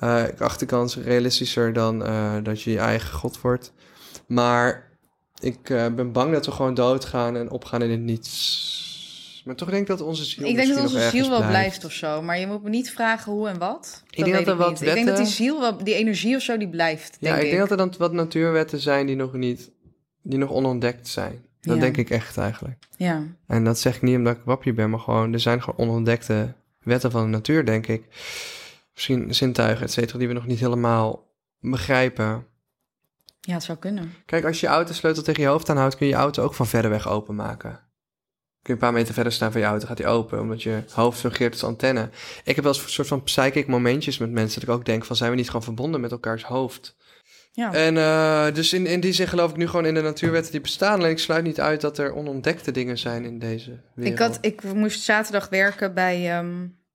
[SPEAKER 4] Eh, ik acht de kans realistischer dan eh, dat je je eigen god wordt. Maar ik eh, ben bang dat we gewoon doodgaan en opgaan in het niets. Maar toch denk ik dat onze ziel
[SPEAKER 5] ik denk dat
[SPEAKER 4] misschien
[SPEAKER 5] onze
[SPEAKER 4] nog
[SPEAKER 5] ziel
[SPEAKER 4] ergens
[SPEAKER 5] wel blijft of zo. Maar je moet me niet vragen hoe en wat.
[SPEAKER 4] Ik denk
[SPEAKER 5] weet
[SPEAKER 4] dat er wat
[SPEAKER 5] niet. Ik denk dat
[SPEAKER 4] wetten-
[SPEAKER 5] die ziel, wel, die energie of zo, die blijft.
[SPEAKER 4] Ja, ik denk dat er dan wat natuurwetten zijn die nog niet, die nog onontdekt zijn. Dat
[SPEAKER 5] Ja.
[SPEAKER 4] denk ik echt eigenlijk.
[SPEAKER 5] Ja.
[SPEAKER 4] En dat zeg ik niet omdat ik wapje ben, maar gewoon, er zijn gewoon onontdekte wetten van de natuur, denk ik. Misschien zintuigen, et cetera, die we nog niet helemaal begrijpen.
[SPEAKER 5] ja, het zou kunnen.
[SPEAKER 4] Kijk, als je je autosleutel tegen je hoofd aanhoudt, kun je je auto ook van verder weg openmaken. Kun je een paar meter verder staan van je auto, gaat die open, omdat je hoofd fungeert als antenne. Ik heb wel eens een soort van psychic momentjes met mensen, dat ik ook denk van, zijn we niet gewoon verbonden met elkaars hoofd?
[SPEAKER 5] Ja.
[SPEAKER 4] En eh, dus in, in die zin geloof ik nu gewoon in de natuurwetten die bestaan. En ik sluit niet uit dat er onontdekte dingen zijn in deze wereld.
[SPEAKER 5] Ik, had, ik moest zaterdag werken bij. ehm,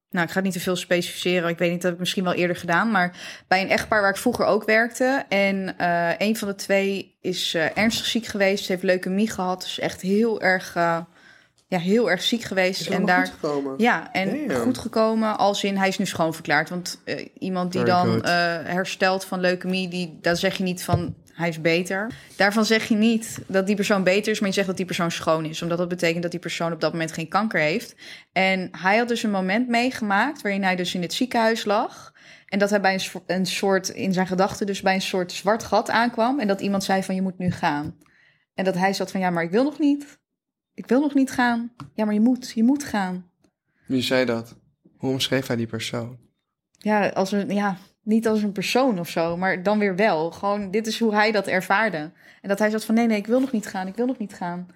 [SPEAKER 5] nou, ik ga het niet te veel specificeren. Ik weet niet, dat heb ik misschien wel eerder gedaan. Maar bij een echtpaar waar ik vroeger ook werkte. En eh, een van de twee is eh, ernstig ziek geweest. Ze heeft leukemie gehad. Dus echt heel erg, eh, ja, heel erg ziek geweest. en daar. Ja, en
[SPEAKER 4] Damn.
[SPEAKER 5] goed gekomen als in hij is nu schoonverklaard. Want eh, iemand die
[SPEAKER 4] Very
[SPEAKER 5] dan
[SPEAKER 4] good.
[SPEAKER 5] eh, herstelt van leukemie, die, daar zeg je niet van hij is beter. Daarvan zeg je niet dat die persoon beter is, maar je zegt dat die persoon schoon is. Omdat dat betekent dat die persoon op dat moment geen kanker heeft. En hij had dus een moment meegemaakt waarin hij dus in het ziekenhuis lag. En dat hij bij een, soort- een soort, in zijn gedachten dus bij een soort zwart gat aankwam. En dat iemand zei van je moet nu gaan. En dat hij zat van ja, maar ik wil nog niet. Ik wil nog niet gaan. Ja, maar je moet, je moet gaan.
[SPEAKER 4] Wie zei dat? Hoe omschreef hij die persoon?
[SPEAKER 5] ja, als een, ja, niet als een persoon of zo, maar dan weer wel. Gewoon, dit is hoe hij dat ervaarde. En dat hij zat van, nee, nee, ik wil nog niet gaan, ik wil nog niet gaan.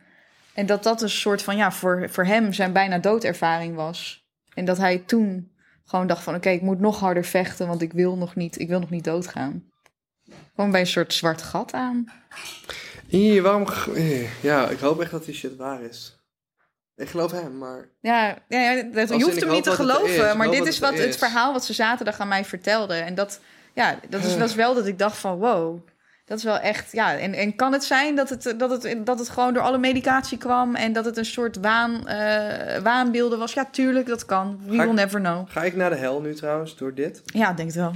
[SPEAKER 5] En dat dat een soort van, ja, voor, voor hem zijn bijna doodervaring was. En dat hij toen gewoon dacht van, oké, ik moet nog harder vechten, want ik wil nog niet, ik wil nog niet doodgaan. Gewoon bij een soort zwart gat aan.
[SPEAKER 4] Hier, waarom... g- eh, Ja, ik hoop echt dat die shit waar is. Ik geloof hem, maar...
[SPEAKER 5] Ja, ja, ja dat,
[SPEAKER 4] in,
[SPEAKER 5] je hoeft
[SPEAKER 4] ik
[SPEAKER 5] hem
[SPEAKER 4] hoop
[SPEAKER 5] niet te
[SPEAKER 4] dat het er is,
[SPEAKER 5] geloven.
[SPEAKER 4] ik
[SPEAKER 5] maar
[SPEAKER 4] hoop
[SPEAKER 5] dit
[SPEAKER 4] dat
[SPEAKER 5] is
[SPEAKER 4] het
[SPEAKER 5] wat
[SPEAKER 4] er
[SPEAKER 5] het,
[SPEAKER 4] is.
[SPEAKER 5] verhaal wat ze zaterdag aan mij vertelde. En dat, ja, dat
[SPEAKER 4] Ah.
[SPEAKER 5] is, was wel dat ik dacht van wow. Dat is wel echt, ja. En, en kan het zijn dat het, dat, het, dat het gewoon door alle medicatie kwam... en dat het een soort waan, eh, waanbeelden was? Ja, tuurlijk, dat kan. We
[SPEAKER 4] Ga ik-
[SPEAKER 5] will never know.
[SPEAKER 4] Ga ik naar de hel nu trouwens, door dit?
[SPEAKER 5] Ja, ik denk het wel.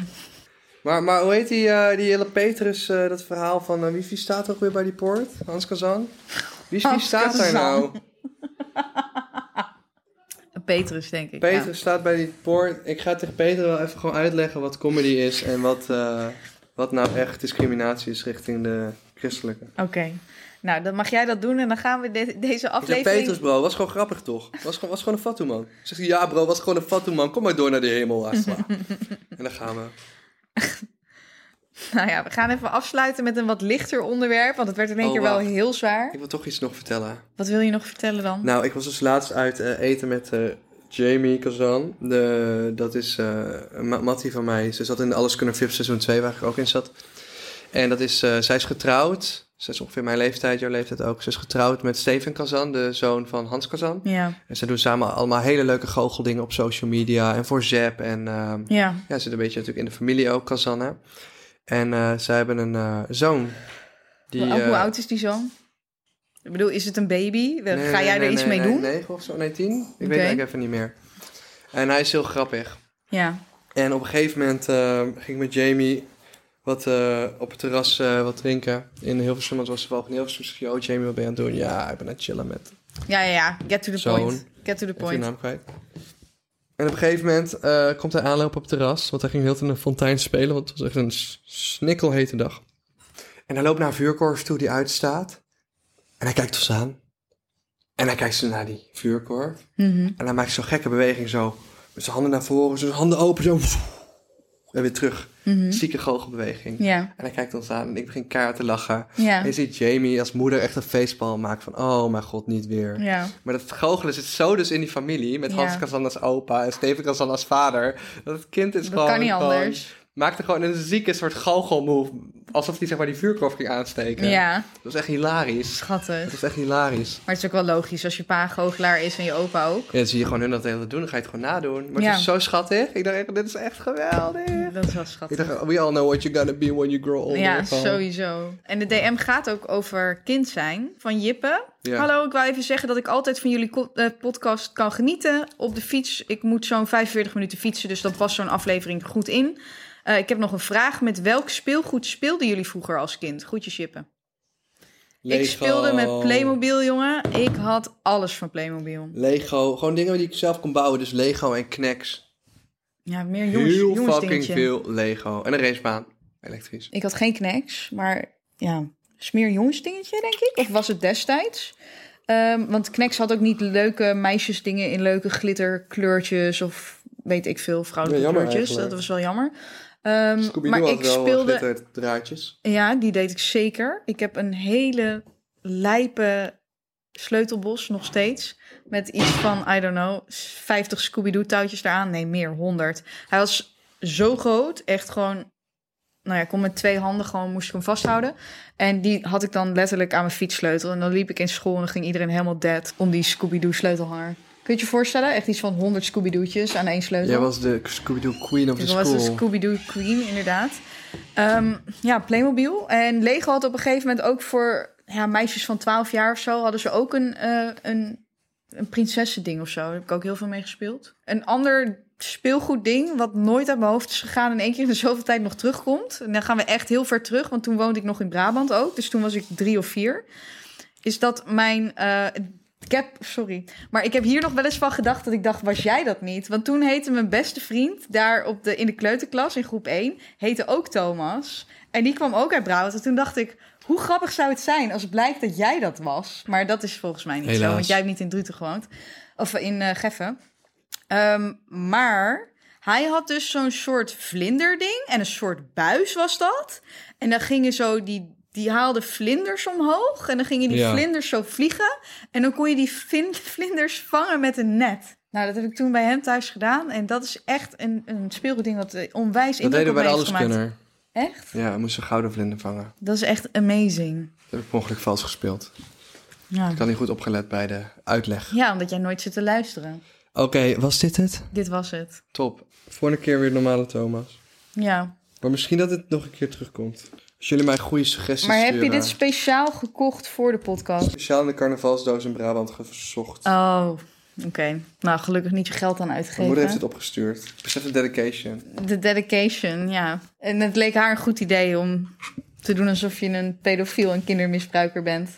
[SPEAKER 4] Maar, maar hoe heet die, eh, die hele Petrus, eh, dat verhaal van... eh, wie, wie staat ook weer bij die poort? Hans Kazan? Wie, wie
[SPEAKER 5] Hans
[SPEAKER 4] staat daar
[SPEAKER 5] Kazan.
[SPEAKER 4] nou?
[SPEAKER 5] Petrus, denk ik.
[SPEAKER 4] Peter staat bij die poort. Ik ga tegen Peter wel even gewoon uitleggen wat comedy is en wat, eh, wat nou echt discriminatie is richting de christelijke.
[SPEAKER 5] ja. Oké. Nou, dan mag jij dat doen en dan gaan we de- deze
[SPEAKER 4] Ik zeg,
[SPEAKER 5] aflevering...
[SPEAKER 4] Petrus bro, was gewoon grappig toch? Was gewoon, was gewoon een fatu man. Zegt hij, ja bro, was gewoon een fatu man. Kom maar door naar de hemel, Asla. en dan gaan we.
[SPEAKER 5] Nou ja, we gaan even afsluiten met een wat lichter onderwerp... want het werd in één
[SPEAKER 4] Oh,
[SPEAKER 5] keer wel
[SPEAKER 4] wacht.
[SPEAKER 5] heel zwaar.
[SPEAKER 4] Ik wil toch iets nog vertellen.
[SPEAKER 5] Wat wil je nog vertellen dan?
[SPEAKER 4] Nou, ik was dus laatst uit eh, eten met eh, Jamie Kazan. De, dat is eh, een ma- mattie van mij. Ze zat in Alles Kunnen VIP seizoen 2, waar ik ook in zat. En dat is, eh, zij is getrouwd. Zij is ongeveer mijn leeftijd, jouw leeftijd ook. Ze is getrouwd met Steven Kazan, de zoon van Hans Kazan.
[SPEAKER 5] Ja,
[SPEAKER 4] En ze doen samen allemaal hele leuke goocheldingen op social media en voor Zep. En ehm,
[SPEAKER 5] ja.
[SPEAKER 4] ja, ze zit een beetje natuurlijk in de familie ook, Kazan. Hè? En eh, zij hebben een eh, zoon. Die,
[SPEAKER 5] hoe, hoe
[SPEAKER 4] eh,
[SPEAKER 5] oud is die zoon? Ik bedoel, is het een baby? Ga
[SPEAKER 4] Nee,
[SPEAKER 5] jij
[SPEAKER 4] nee,
[SPEAKER 5] er
[SPEAKER 4] nee,
[SPEAKER 5] iets
[SPEAKER 4] nee,
[SPEAKER 5] mee
[SPEAKER 4] nee,
[SPEAKER 5] doen?
[SPEAKER 4] Negen of zo, nee, tien. Ik weet het
[SPEAKER 5] Oké.
[SPEAKER 4] eigenlijk even niet meer. En hij is heel grappig.
[SPEAKER 5] Ja.
[SPEAKER 4] En op een gegeven moment eh, ging ik met Jamie wat eh, op het terras eh, wat drinken. In Hilversum, want het was toevallig in Hilversum. Ik Zeg, oh Jamie, wat ben je aan het doen? Ja, ik ben aan het chillen met
[SPEAKER 5] ja, ja, ja. Get to the
[SPEAKER 4] Zoon.
[SPEAKER 5] point. Get to the
[SPEAKER 4] Ik ben
[SPEAKER 5] point.
[SPEAKER 4] naam kwijt. En op een gegeven moment eh, komt hij aanlopen op het terras. Want hij ging heel in een fontein spelen. Want het was echt een s- snikkelhete dag. En hij loopt naar een vuurkorf toe die uitstaat. En hij kijkt ons aan. En hij kijkt zo naar die vuurkorf.
[SPEAKER 5] Mhm.
[SPEAKER 4] En hij maakt zo'n gekke beweging zo. Met zijn handen naar voren, zijn handen open zo. En weer terug. Zieke goochelbeweging.
[SPEAKER 5] Mhm. Ja,
[SPEAKER 4] En hij kijkt ons aan en ik begin keihard te lachen.
[SPEAKER 5] Ja.
[SPEAKER 4] En je ziet Jamie als moeder echt een feestbal maken van... Oh mijn god, niet weer.
[SPEAKER 5] ja.
[SPEAKER 4] Maar dat goochelen zit zo dus in die familie. Met
[SPEAKER 5] Ja.
[SPEAKER 4] Hans Kazan als opa en Steven Kazan als vader. Dat het kind is
[SPEAKER 5] Dat
[SPEAKER 4] gewoon...
[SPEAKER 5] kan niet
[SPEAKER 4] gewoon-
[SPEAKER 5] anders.
[SPEAKER 4] maakte gewoon een zieke soort goochelmove. Alsof hij zeg maar die vuurkorf ging aansteken.
[SPEAKER 5] Ja,
[SPEAKER 4] Dat was echt hilarisch. Dat
[SPEAKER 5] schattig.
[SPEAKER 4] was echt hilarisch.
[SPEAKER 5] Maar het is ook wel logisch als je pa goochelaar is en je opa ook.
[SPEAKER 4] Ja, dan zie je gewoon hun dat de hele tijd doen. Dan ga je het gewoon nadoen. Maar
[SPEAKER 5] Ja.
[SPEAKER 4] het is zo schattig. Ik dacht echt, dit is echt geweldig.
[SPEAKER 5] Dat is wel
[SPEAKER 4] Ik
[SPEAKER 5] schattig.
[SPEAKER 4] dacht, oh, we all know what you're gonna be when you grow older.
[SPEAKER 5] Ja,
[SPEAKER 4] Gewoon.
[SPEAKER 5] sowieso. En de DM gaat ook over kind zijn van Jippe.
[SPEAKER 4] Ja.
[SPEAKER 5] Hallo, ik wil even zeggen dat ik altijd van jullie ko- eh, podcast kan genieten. Op de fiets, ik moet zo'n 45 minuten fietsen, dus dat was zo'n aflevering goed in. Eh, ik heb nog een vraag. Met welk speelgoed speelden jullie vroeger als kind? Goedje shippen. Ik
[SPEAKER 4] Lego.
[SPEAKER 5] speelde met Playmobil, jongen. Ik had alles van Playmobil.
[SPEAKER 4] Lego. Gewoon dingen die ik zelf kon bouwen. Dus Lego en Knacks.
[SPEAKER 5] Ja, meer jongens,
[SPEAKER 4] Heel
[SPEAKER 5] jongens
[SPEAKER 4] fucking
[SPEAKER 5] dingetje.
[SPEAKER 4] veel Lego. En een racebaan. Elektrisch.
[SPEAKER 5] Ik had geen knacks, maar ja, smeer jongens dingetje, denk ik. Of was het destijds? Ehm, want knacks had ook niet leuke meisjesdingen in leuke glitterkleurtjes of weet ik veel, vrouwelijke
[SPEAKER 4] Ja, jammer
[SPEAKER 5] kleurtjes. Dat
[SPEAKER 4] eigenlijk.
[SPEAKER 5] was wel jammer. Ehm, maar ik speelde...
[SPEAKER 4] draadjes.
[SPEAKER 5] Ja, die deed ik zeker. Ik heb een hele lijpe sleutelbos nog steeds. Met iets van, I don't know, 50 Scooby-Doo touwtjes eraan. Nee, meer, 100. Hij was zo groot, echt gewoon... Nou ja, ik kon met twee handen gewoon, moest ik hem vasthouden. En die had ik dan letterlijk aan mijn fietssleutel. En dan liep ik in school en dan ging iedereen helemaal dead om die Scooby-Doo sleutelhanger. Kun je je voorstellen? Echt iets van 100 Scooby-Doo'tjes aan één sleutel.
[SPEAKER 4] Jij was de Scooby-Doo Queen of the
[SPEAKER 5] Ik was de
[SPEAKER 4] School.
[SPEAKER 5] Scooby-Doo Queen, inderdaad. Ehm, ja, Playmobil. En Lego had op een gegeven moment ook voor ja, meisjes van 12 jaar of zo... hadden ze ook een, eh een, een prinsessending of zo. Daar heb ik ook heel veel mee gespeeld. Een ander speelgoedding wat nooit uit mijn hoofd is gegaan... en één keer in de zoveel tijd nog terugkomt. En dan gaan we echt heel ver terug, want toen woonde ik nog in Brabant ook. Dus toen was ik drie of vier. Is dat mijn... eh, ik heb, sorry, maar ik heb hier nog wel eens van gedacht dat ik dacht, was jij dat niet? Want toen heette mijn beste vriend daar op de, in de kleuterklas in groep 1, heette ook Thomas. En die kwam ook uit Brabant. En toen dacht ik, hoe grappig zou het zijn als blijkt dat jij dat was? Maar dat is volgens mij niet zo,
[SPEAKER 4] Helaas.
[SPEAKER 5] want jij hebt niet in Druten gewoond. Of in eh Geffen. Ehm, maar hij had dus zo'n soort vlinderding en een soort buis was dat. En dan gingen zo die, die haalde vlinders omhoog en dan gingen die
[SPEAKER 4] Ja.
[SPEAKER 5] vlinders zo vliegen. En dan kon je die vin- vlinders vangen met een net. Nou, dat heb ik toen bij hem thuis gedaan. En dat is echt een, een speelgoedding wat eh, onwijs
[SPEAKER 4] Dat
[SPEAKER 5] indruk
[SPEAKER 4] deden we
[SPEAKER 5] op
[SPEAKER 4] bij
[SPEAKER 5] mij
[SPEAKER 4] de
[SPEAKER 5] heeft gemaakt.
[SPEAKER 4] Alleskunner.
[SPEAKER 5] Echt?
[SPEAKER 4] Ja, we moesten gouden vlinder vangen.
[SPEAKER 5] Dat is echt amazing.
[SPEAKER 4] Dat heb ik per ongeluk vals gespeeld.
[SPEAKER 5] Ja.
[SPEAKER 4] Ik had niet goed opgelet bij de uitleg.
[SPEAKER 5] ja, omdat jij nooit zit te luisteren.
[SPEAKER 4] Oké, was dit het?
[SPEAKER 5] Dit was het.
[SPEAKER 4] Top. Volgende keer weer normale Thomas.
[SPEAKER 5] Ja.
[SPEAKER 4] Maar misschien dat het nog een keer terugkomt. Als jullie mij goede suggesties
[SPEAKER 5] Maar heb
[SPEAKER 4] sturen.
[SPEAKER 5] je dit speciaal gekocht voor de podcast?
[SPEAKER 4] speciaal in de carnavalsdoos in Brabant gezocht?
[SPEAKER 5] Oh, oké. Nou, gelukkig niet je geld aan
[SPEAKER 4] Mijn moeder heeft
[SPEAKER 5] uitgegeven.
[SPEAKER 4] het opgestuurd. Ik besef de dedication.
[SPEAKER 5] De dedication, ja. En het leek haar een goed idee om te doen alsof je een pedofiel en kindermisbruiker bent.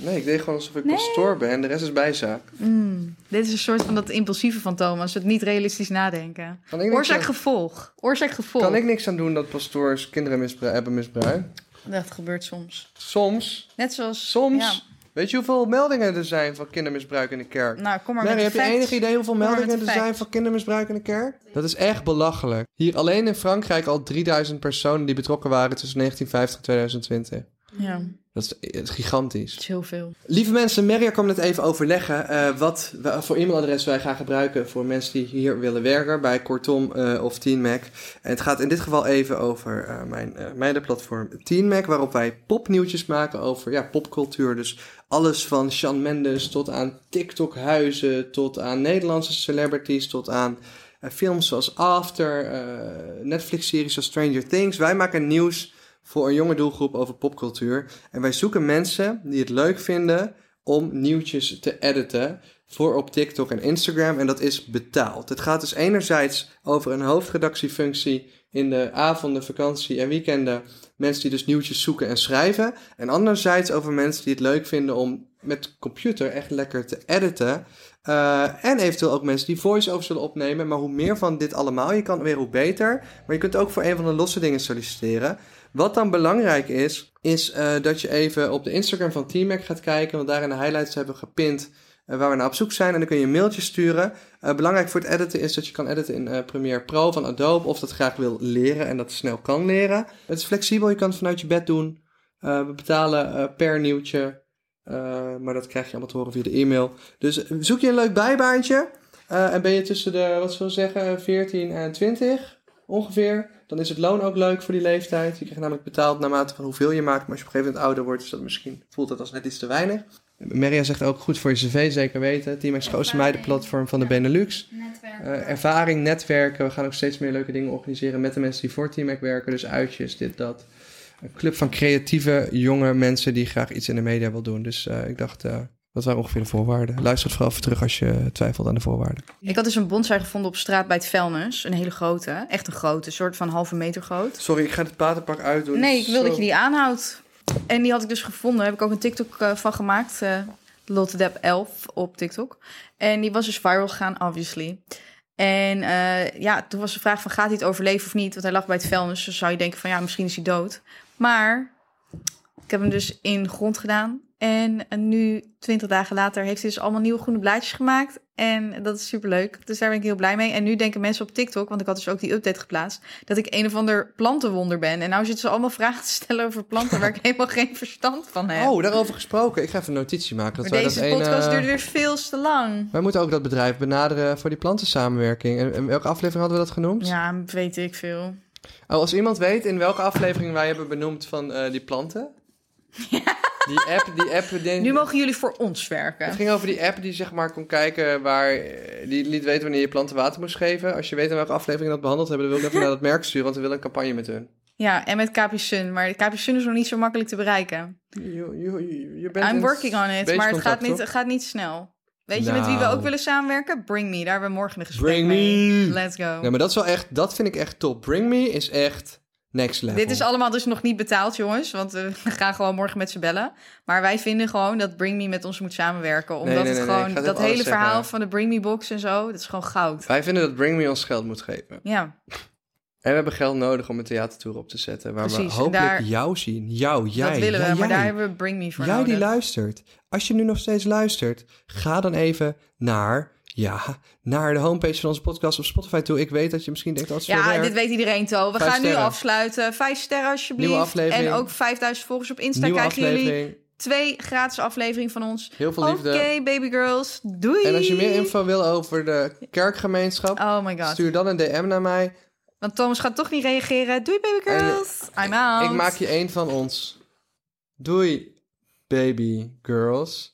[SPEAKER 4] Nee, ik deed gewoon alsof ik pastoor ben en de rest is bijzaak. Mm.
[SPEAKER 5] Dit is een soort van dat impulsieve van Thomas, het niet realistisch nadenken.
[SPEAKER 4] Kan ik niks aan-
[SPEAKER 5] Oorzaak-gevolg. Oorzaak-gevolg.
[SPEAKER 4] Kan ik niks aan doen dat pastoors kinderen misbru- hebben misbruikt?
[SPEAKER 5] Dat gebeurt soms.
[SPEAKER 4] Soms.
[SPEAKER 5] Net zoals...
[SPEAKER 4] Soms.
[SPEAKER 5] Ja.
[SPEAKER 4] Weet je hoeveel meldingen er zijn van kindermisbruik in de kerk?
[SPEAKER 5] Nou, kom maar
[SPEAKER 4] Mary,
[SPEAKER 5] met
[SPEAKER 4] heb
[SPEAKER 5] de
[SPEAKER 4] je
[SPEAKER 5] facts.
[SPEAKER 4] enig idee hoeveel
[SPEAKER 5] Kom maar
[SPEAKER 4] meldingen
[SPEAKER 5] met
[SPEAKER 4] er
[SPEAKER 5] de
[SPEAKER 4] zijn
[SPEAKER 5] facts.
[SPEAKER 4] van kindermisbruik in de kerk? Dat is echt belachelijk. Hier alleen in Frankrijk al 3000 personen die betrokken waren tussen 1950 en 2020.
[SPEAKER 5] Ja, het
[SPEAKER 4] Dat is, eh, gigantisch.
[SPEAKER 5] is heel veel.
[SPEAKER 4] Lieve mensen, Merja kwam net even overleggen eh, wat we- voor e-mailadres wij gaan gebruiken voor mensen die hier willen werken bij Kortom eh, of TeenMac. En het gaat in dit geval even over eh, mijn eh meidenplatform TeenMac, waarop wij popnieuwtjes maken over ja, popcultuur. Dus alles van Shawn Mendes tot aan TikTok-huizen, tot aan Nederlandse celebrities, tot aan eh, films zoals After, eh, Netflix-series als Stranger Things. Wij maken nieuws voor een jonge doelgroep over popcultuur. En wij zoeken mensen die het leuk vinden om nieuwtjes te editen voor op TikTok en Instagram. En dat is betaald. Het gaat dus enerzijds over een hoofdredactiefunctie in de avonden, vakantie en weekenden. Mensen die dus nieuwtjes zoeken en schrijven. En anderzijds over mensen die het leuk vinden om met de computer echt lekker te editen. Eh, en eventueel ook mensen die voice-over zullen opnemen. Maar hoe meer van dit allemaal je kan, weer hoe beter. Maar je kunt ook voor een van de losse dingen solliciteren. Wat dan belangrijk is, is eh, dat je even op de Instagram van T-Mac gaat kijken. Want daarin de highlights hebben we gepint eh, waar we naar op zoek zijn. En dan kun je een mailtje sturen. Eh, belangrijk voor het editen is dat je kan editen in eh, Premiere Pro van Adobe. Of dat graag wil leren en dat snel kan leren. Het is flexibel, je kan het vanuit je bed doen. Eh, we betalen eh, per nieuwtje. Eh, maar dat krijg je allemaal te horen via de e-mail. Dus zoek je een leuk bijbaantje. eh, en ben je tussen de, wat zullen we zeggen, 14 en 20 ongeveer. Dan is het loon ook leuk voor die leeftijd. Je krijgt namelijk betaald naarmate van hoeveel je maakt. Maar als je op een gegeven moment ouder wordt, is dat misschien, voelt dat als net iets te weinig. Maria zegt ook goed voor je cv, zeker weten. Team X Grootste Meidenplatform van de Benelux. Eh, ervaring, netwerken. We gaan ook steeds meer leuke dingen organiseren met de mensen die voor Team X werken. Dus uitjes, dit, dat. Een club van creatieve jonge mensen die graag iets in de media wil doen. Dus eh, ik dacht, eh dat waren ongeveer de voorwaarden. Luister het vooral even terug als je twijfelt aan de voorwaarden.
[SPEAKER 5] Ik had dus een bonsai gevonden op straat bij het vuilnis. Een hele grote. Echt een grote. Een soort van halve meter groot.
[SPEAKER 4] Sorry, ik ga het paterpak uitdoen.
[SPEAKER 5] Nee, ik wil dat je die aanhoudt. En die had ik dus gevonden. Daar heb ik ook een TikTok eh, van gemaakt. eh Lotte Depp 11 op TikTok. En die was dus viral gegaan, obviously. En eh, ja, toen was de vraag van gaat hij het overleven of niet? Want hij lag bij het vuilnis. Dus zou je denken van ja, misschien is hij dood. Maar ik heb hem dus in de grond gedaan. En eh, nu, 20 dagen later, heeft hij dus allemaal nieuwe groene blaadjes gemaakt. En dat is superleuk. Dus daar ben ik heel blij mee. En nu denken mensen op TikTok, want ik had dus ook die update geplaatst, dat ik een of ander plantenwonder ben. En nou zitten ze allemaal vragen te stellen over planten waar ik helemaal geen verstand van heb.
[SPEAKER 4] Oh, daarover gesproken. Ik ga even een notitie maken. Dat
[SPEAKER 5] maar
[SPEAKER 4] wij
[SPEAKER 5] deze
[SPEAKER 4] dat
[SPEAKER 5] podcast
[SPEAKER 4] ene-
[SPEAKER 5] duurde weer veel te lang.
[SPEAKER 4] Wij moeten ook dat bedrijf benaderen voor die plantensamenwerking. En, en welke aflevering hadden we dat genoemd?
[SPEAKER 5] Ja, weet ik veel.
[SPEAKER 4] Oh, als iemand weet in welke aflevering wij hebben benoemd van eh, die planten. Die app, die app. die-
[SPEAKER 5] Nu mogen jullie voor ons
[SPEAKER 4] Het
[SPEAKER 5] werken.
[SPEAKER 4] ging over die app die zeg maar kon kijken waar... eh, Die liet weten wanneer je planten water moest geven. Als je weet in welke aflevering we dat behandeld hebben... dan wil ik even naar dat merk sturen, want we willen een campagne met hun.
[SPEAKER 5] Ja, en met Capri Sun. Maar Capri Sun is nog niet zo makkelijk te bereiken.
[SPEAKER 4] Je, je, je bent
[SPEAKER 5] I'm
[SPEAKER 4] in
[SPEAKER 5] working on it,
[SPEAKER 4] beetje
[SPEAKER 5] maar het gaat,
[SPEAKER 4] contact,
[SPEAKER 5] niet,
[SPEAKER 4] toch?
[SPEAKER 5] het gaat niet snel. Weet je met wie we
[SPEAKER 4] Nou.
[SPEAKER 5] ook willen samenwerken? Bring Me, daar hebben we morgen een gesprek
[SPEAKER 4] Bring
[SPEAKER 5] mee.
[SPEAKER 4] Me.
[SPEAKER 5] Let's go.
[SPEAKER 4] Nee, maar dat, is wel echt, dat vind ik echt top. Bring Me is echt next level.
[SPEAKER 5] Dit is allemaal dus nog niet betaald, jongens, want eh, we gaan gewoon morgen met ze bellen. Maar wij vinden gewoon dat Bring Me met ons moet samenwerken, omdat
[SPEAKER 4] nee, nee,
[SPEAKER 5] het
[SPEAKER 4] nee,
[SPEAKER 5] gewoon
[SPEAKER 4] ik ga het
[SPEAKER 5] dat
[SPEAKER 4] even
[SPEAKER 5] hele
[SPEAKER 4] alles
[SPEAKER 5] verhaal
[SPEAKER 4] zeggen.
[SPEAKER 5] van de Bring Me box en zo, dat is gewoon goud.
[SPEAKER 4] Wij vinden dat Bring Me ons geld moet geven.
[SPEAKER 5] Ja,
[SPEAKER 4] En we hebben geld nodig om een theatertour op te zetten. Waar
[SPEAKER 5] Precies,
[SPEAKER 4] we
[SPEAKER 5] en
[SPEAKER 4] hopelijk
[SPEAKER 5] daar-
[SPEAKER 4] jou zien. Jou, jij.
[SPEAKER 5] dat willen we,
[SPEAKER 4] ja, jij.
[SPEAKER 5] maar daar hebben we Bring Me voor
[SPEAKER 4] Jij
[SPEAKER 5] nodig.
[SPEAKER 4] die luistert. Als je nu nog steeds luistert, ga dan even naar, ja, naar de homepage van onze podcast op Spotify toe. Ik weet dat je misschien denkt, dat is veel
[SPEAKER 5] ja,
[SPEAKER 4] werk.
[SPEAKER 5] dit weet iedereen, To. We
[SPEAKER 4] Vijf
[SPEAKER 5] gaan nu
[SPEAKER 4] sterren.
[SPEAKER 5] afsluiten. Vijf sterren alsjeblieft.
[SPEAKER 4] Nieuwe aflevering.
[SPEAKER 5] En ook 5000 volgers op Insta
[SPEAKER 4] Nieuwe
[SPEAKER 5] krijgen jullie.
[SPEAKER 4] aflevering.
[SPEAKER 5] twee gratis afleveringen van ons.
[SPEAKER 4] Heel veel
[SPEAKER 5] Oké,
[SPEAKER 4] liefde.
[SPEAKER 5] baby girls. Doei.
[SPEAKER 4] En als je meer info wil over de kerkgemeenschap,
[SPEAKER 5] Oh my god.
[SPEAKER 4] stuur dan een DM naar mij.
[SPEAKER 5] Want Thomas gaat toch niet reageren. Doei, baby
[SPEAKER 4] En-
[SPEAKER 5] girls. I'm out.
[SPEAKER 4] Ik maak je één van ons. Doei, baby girls.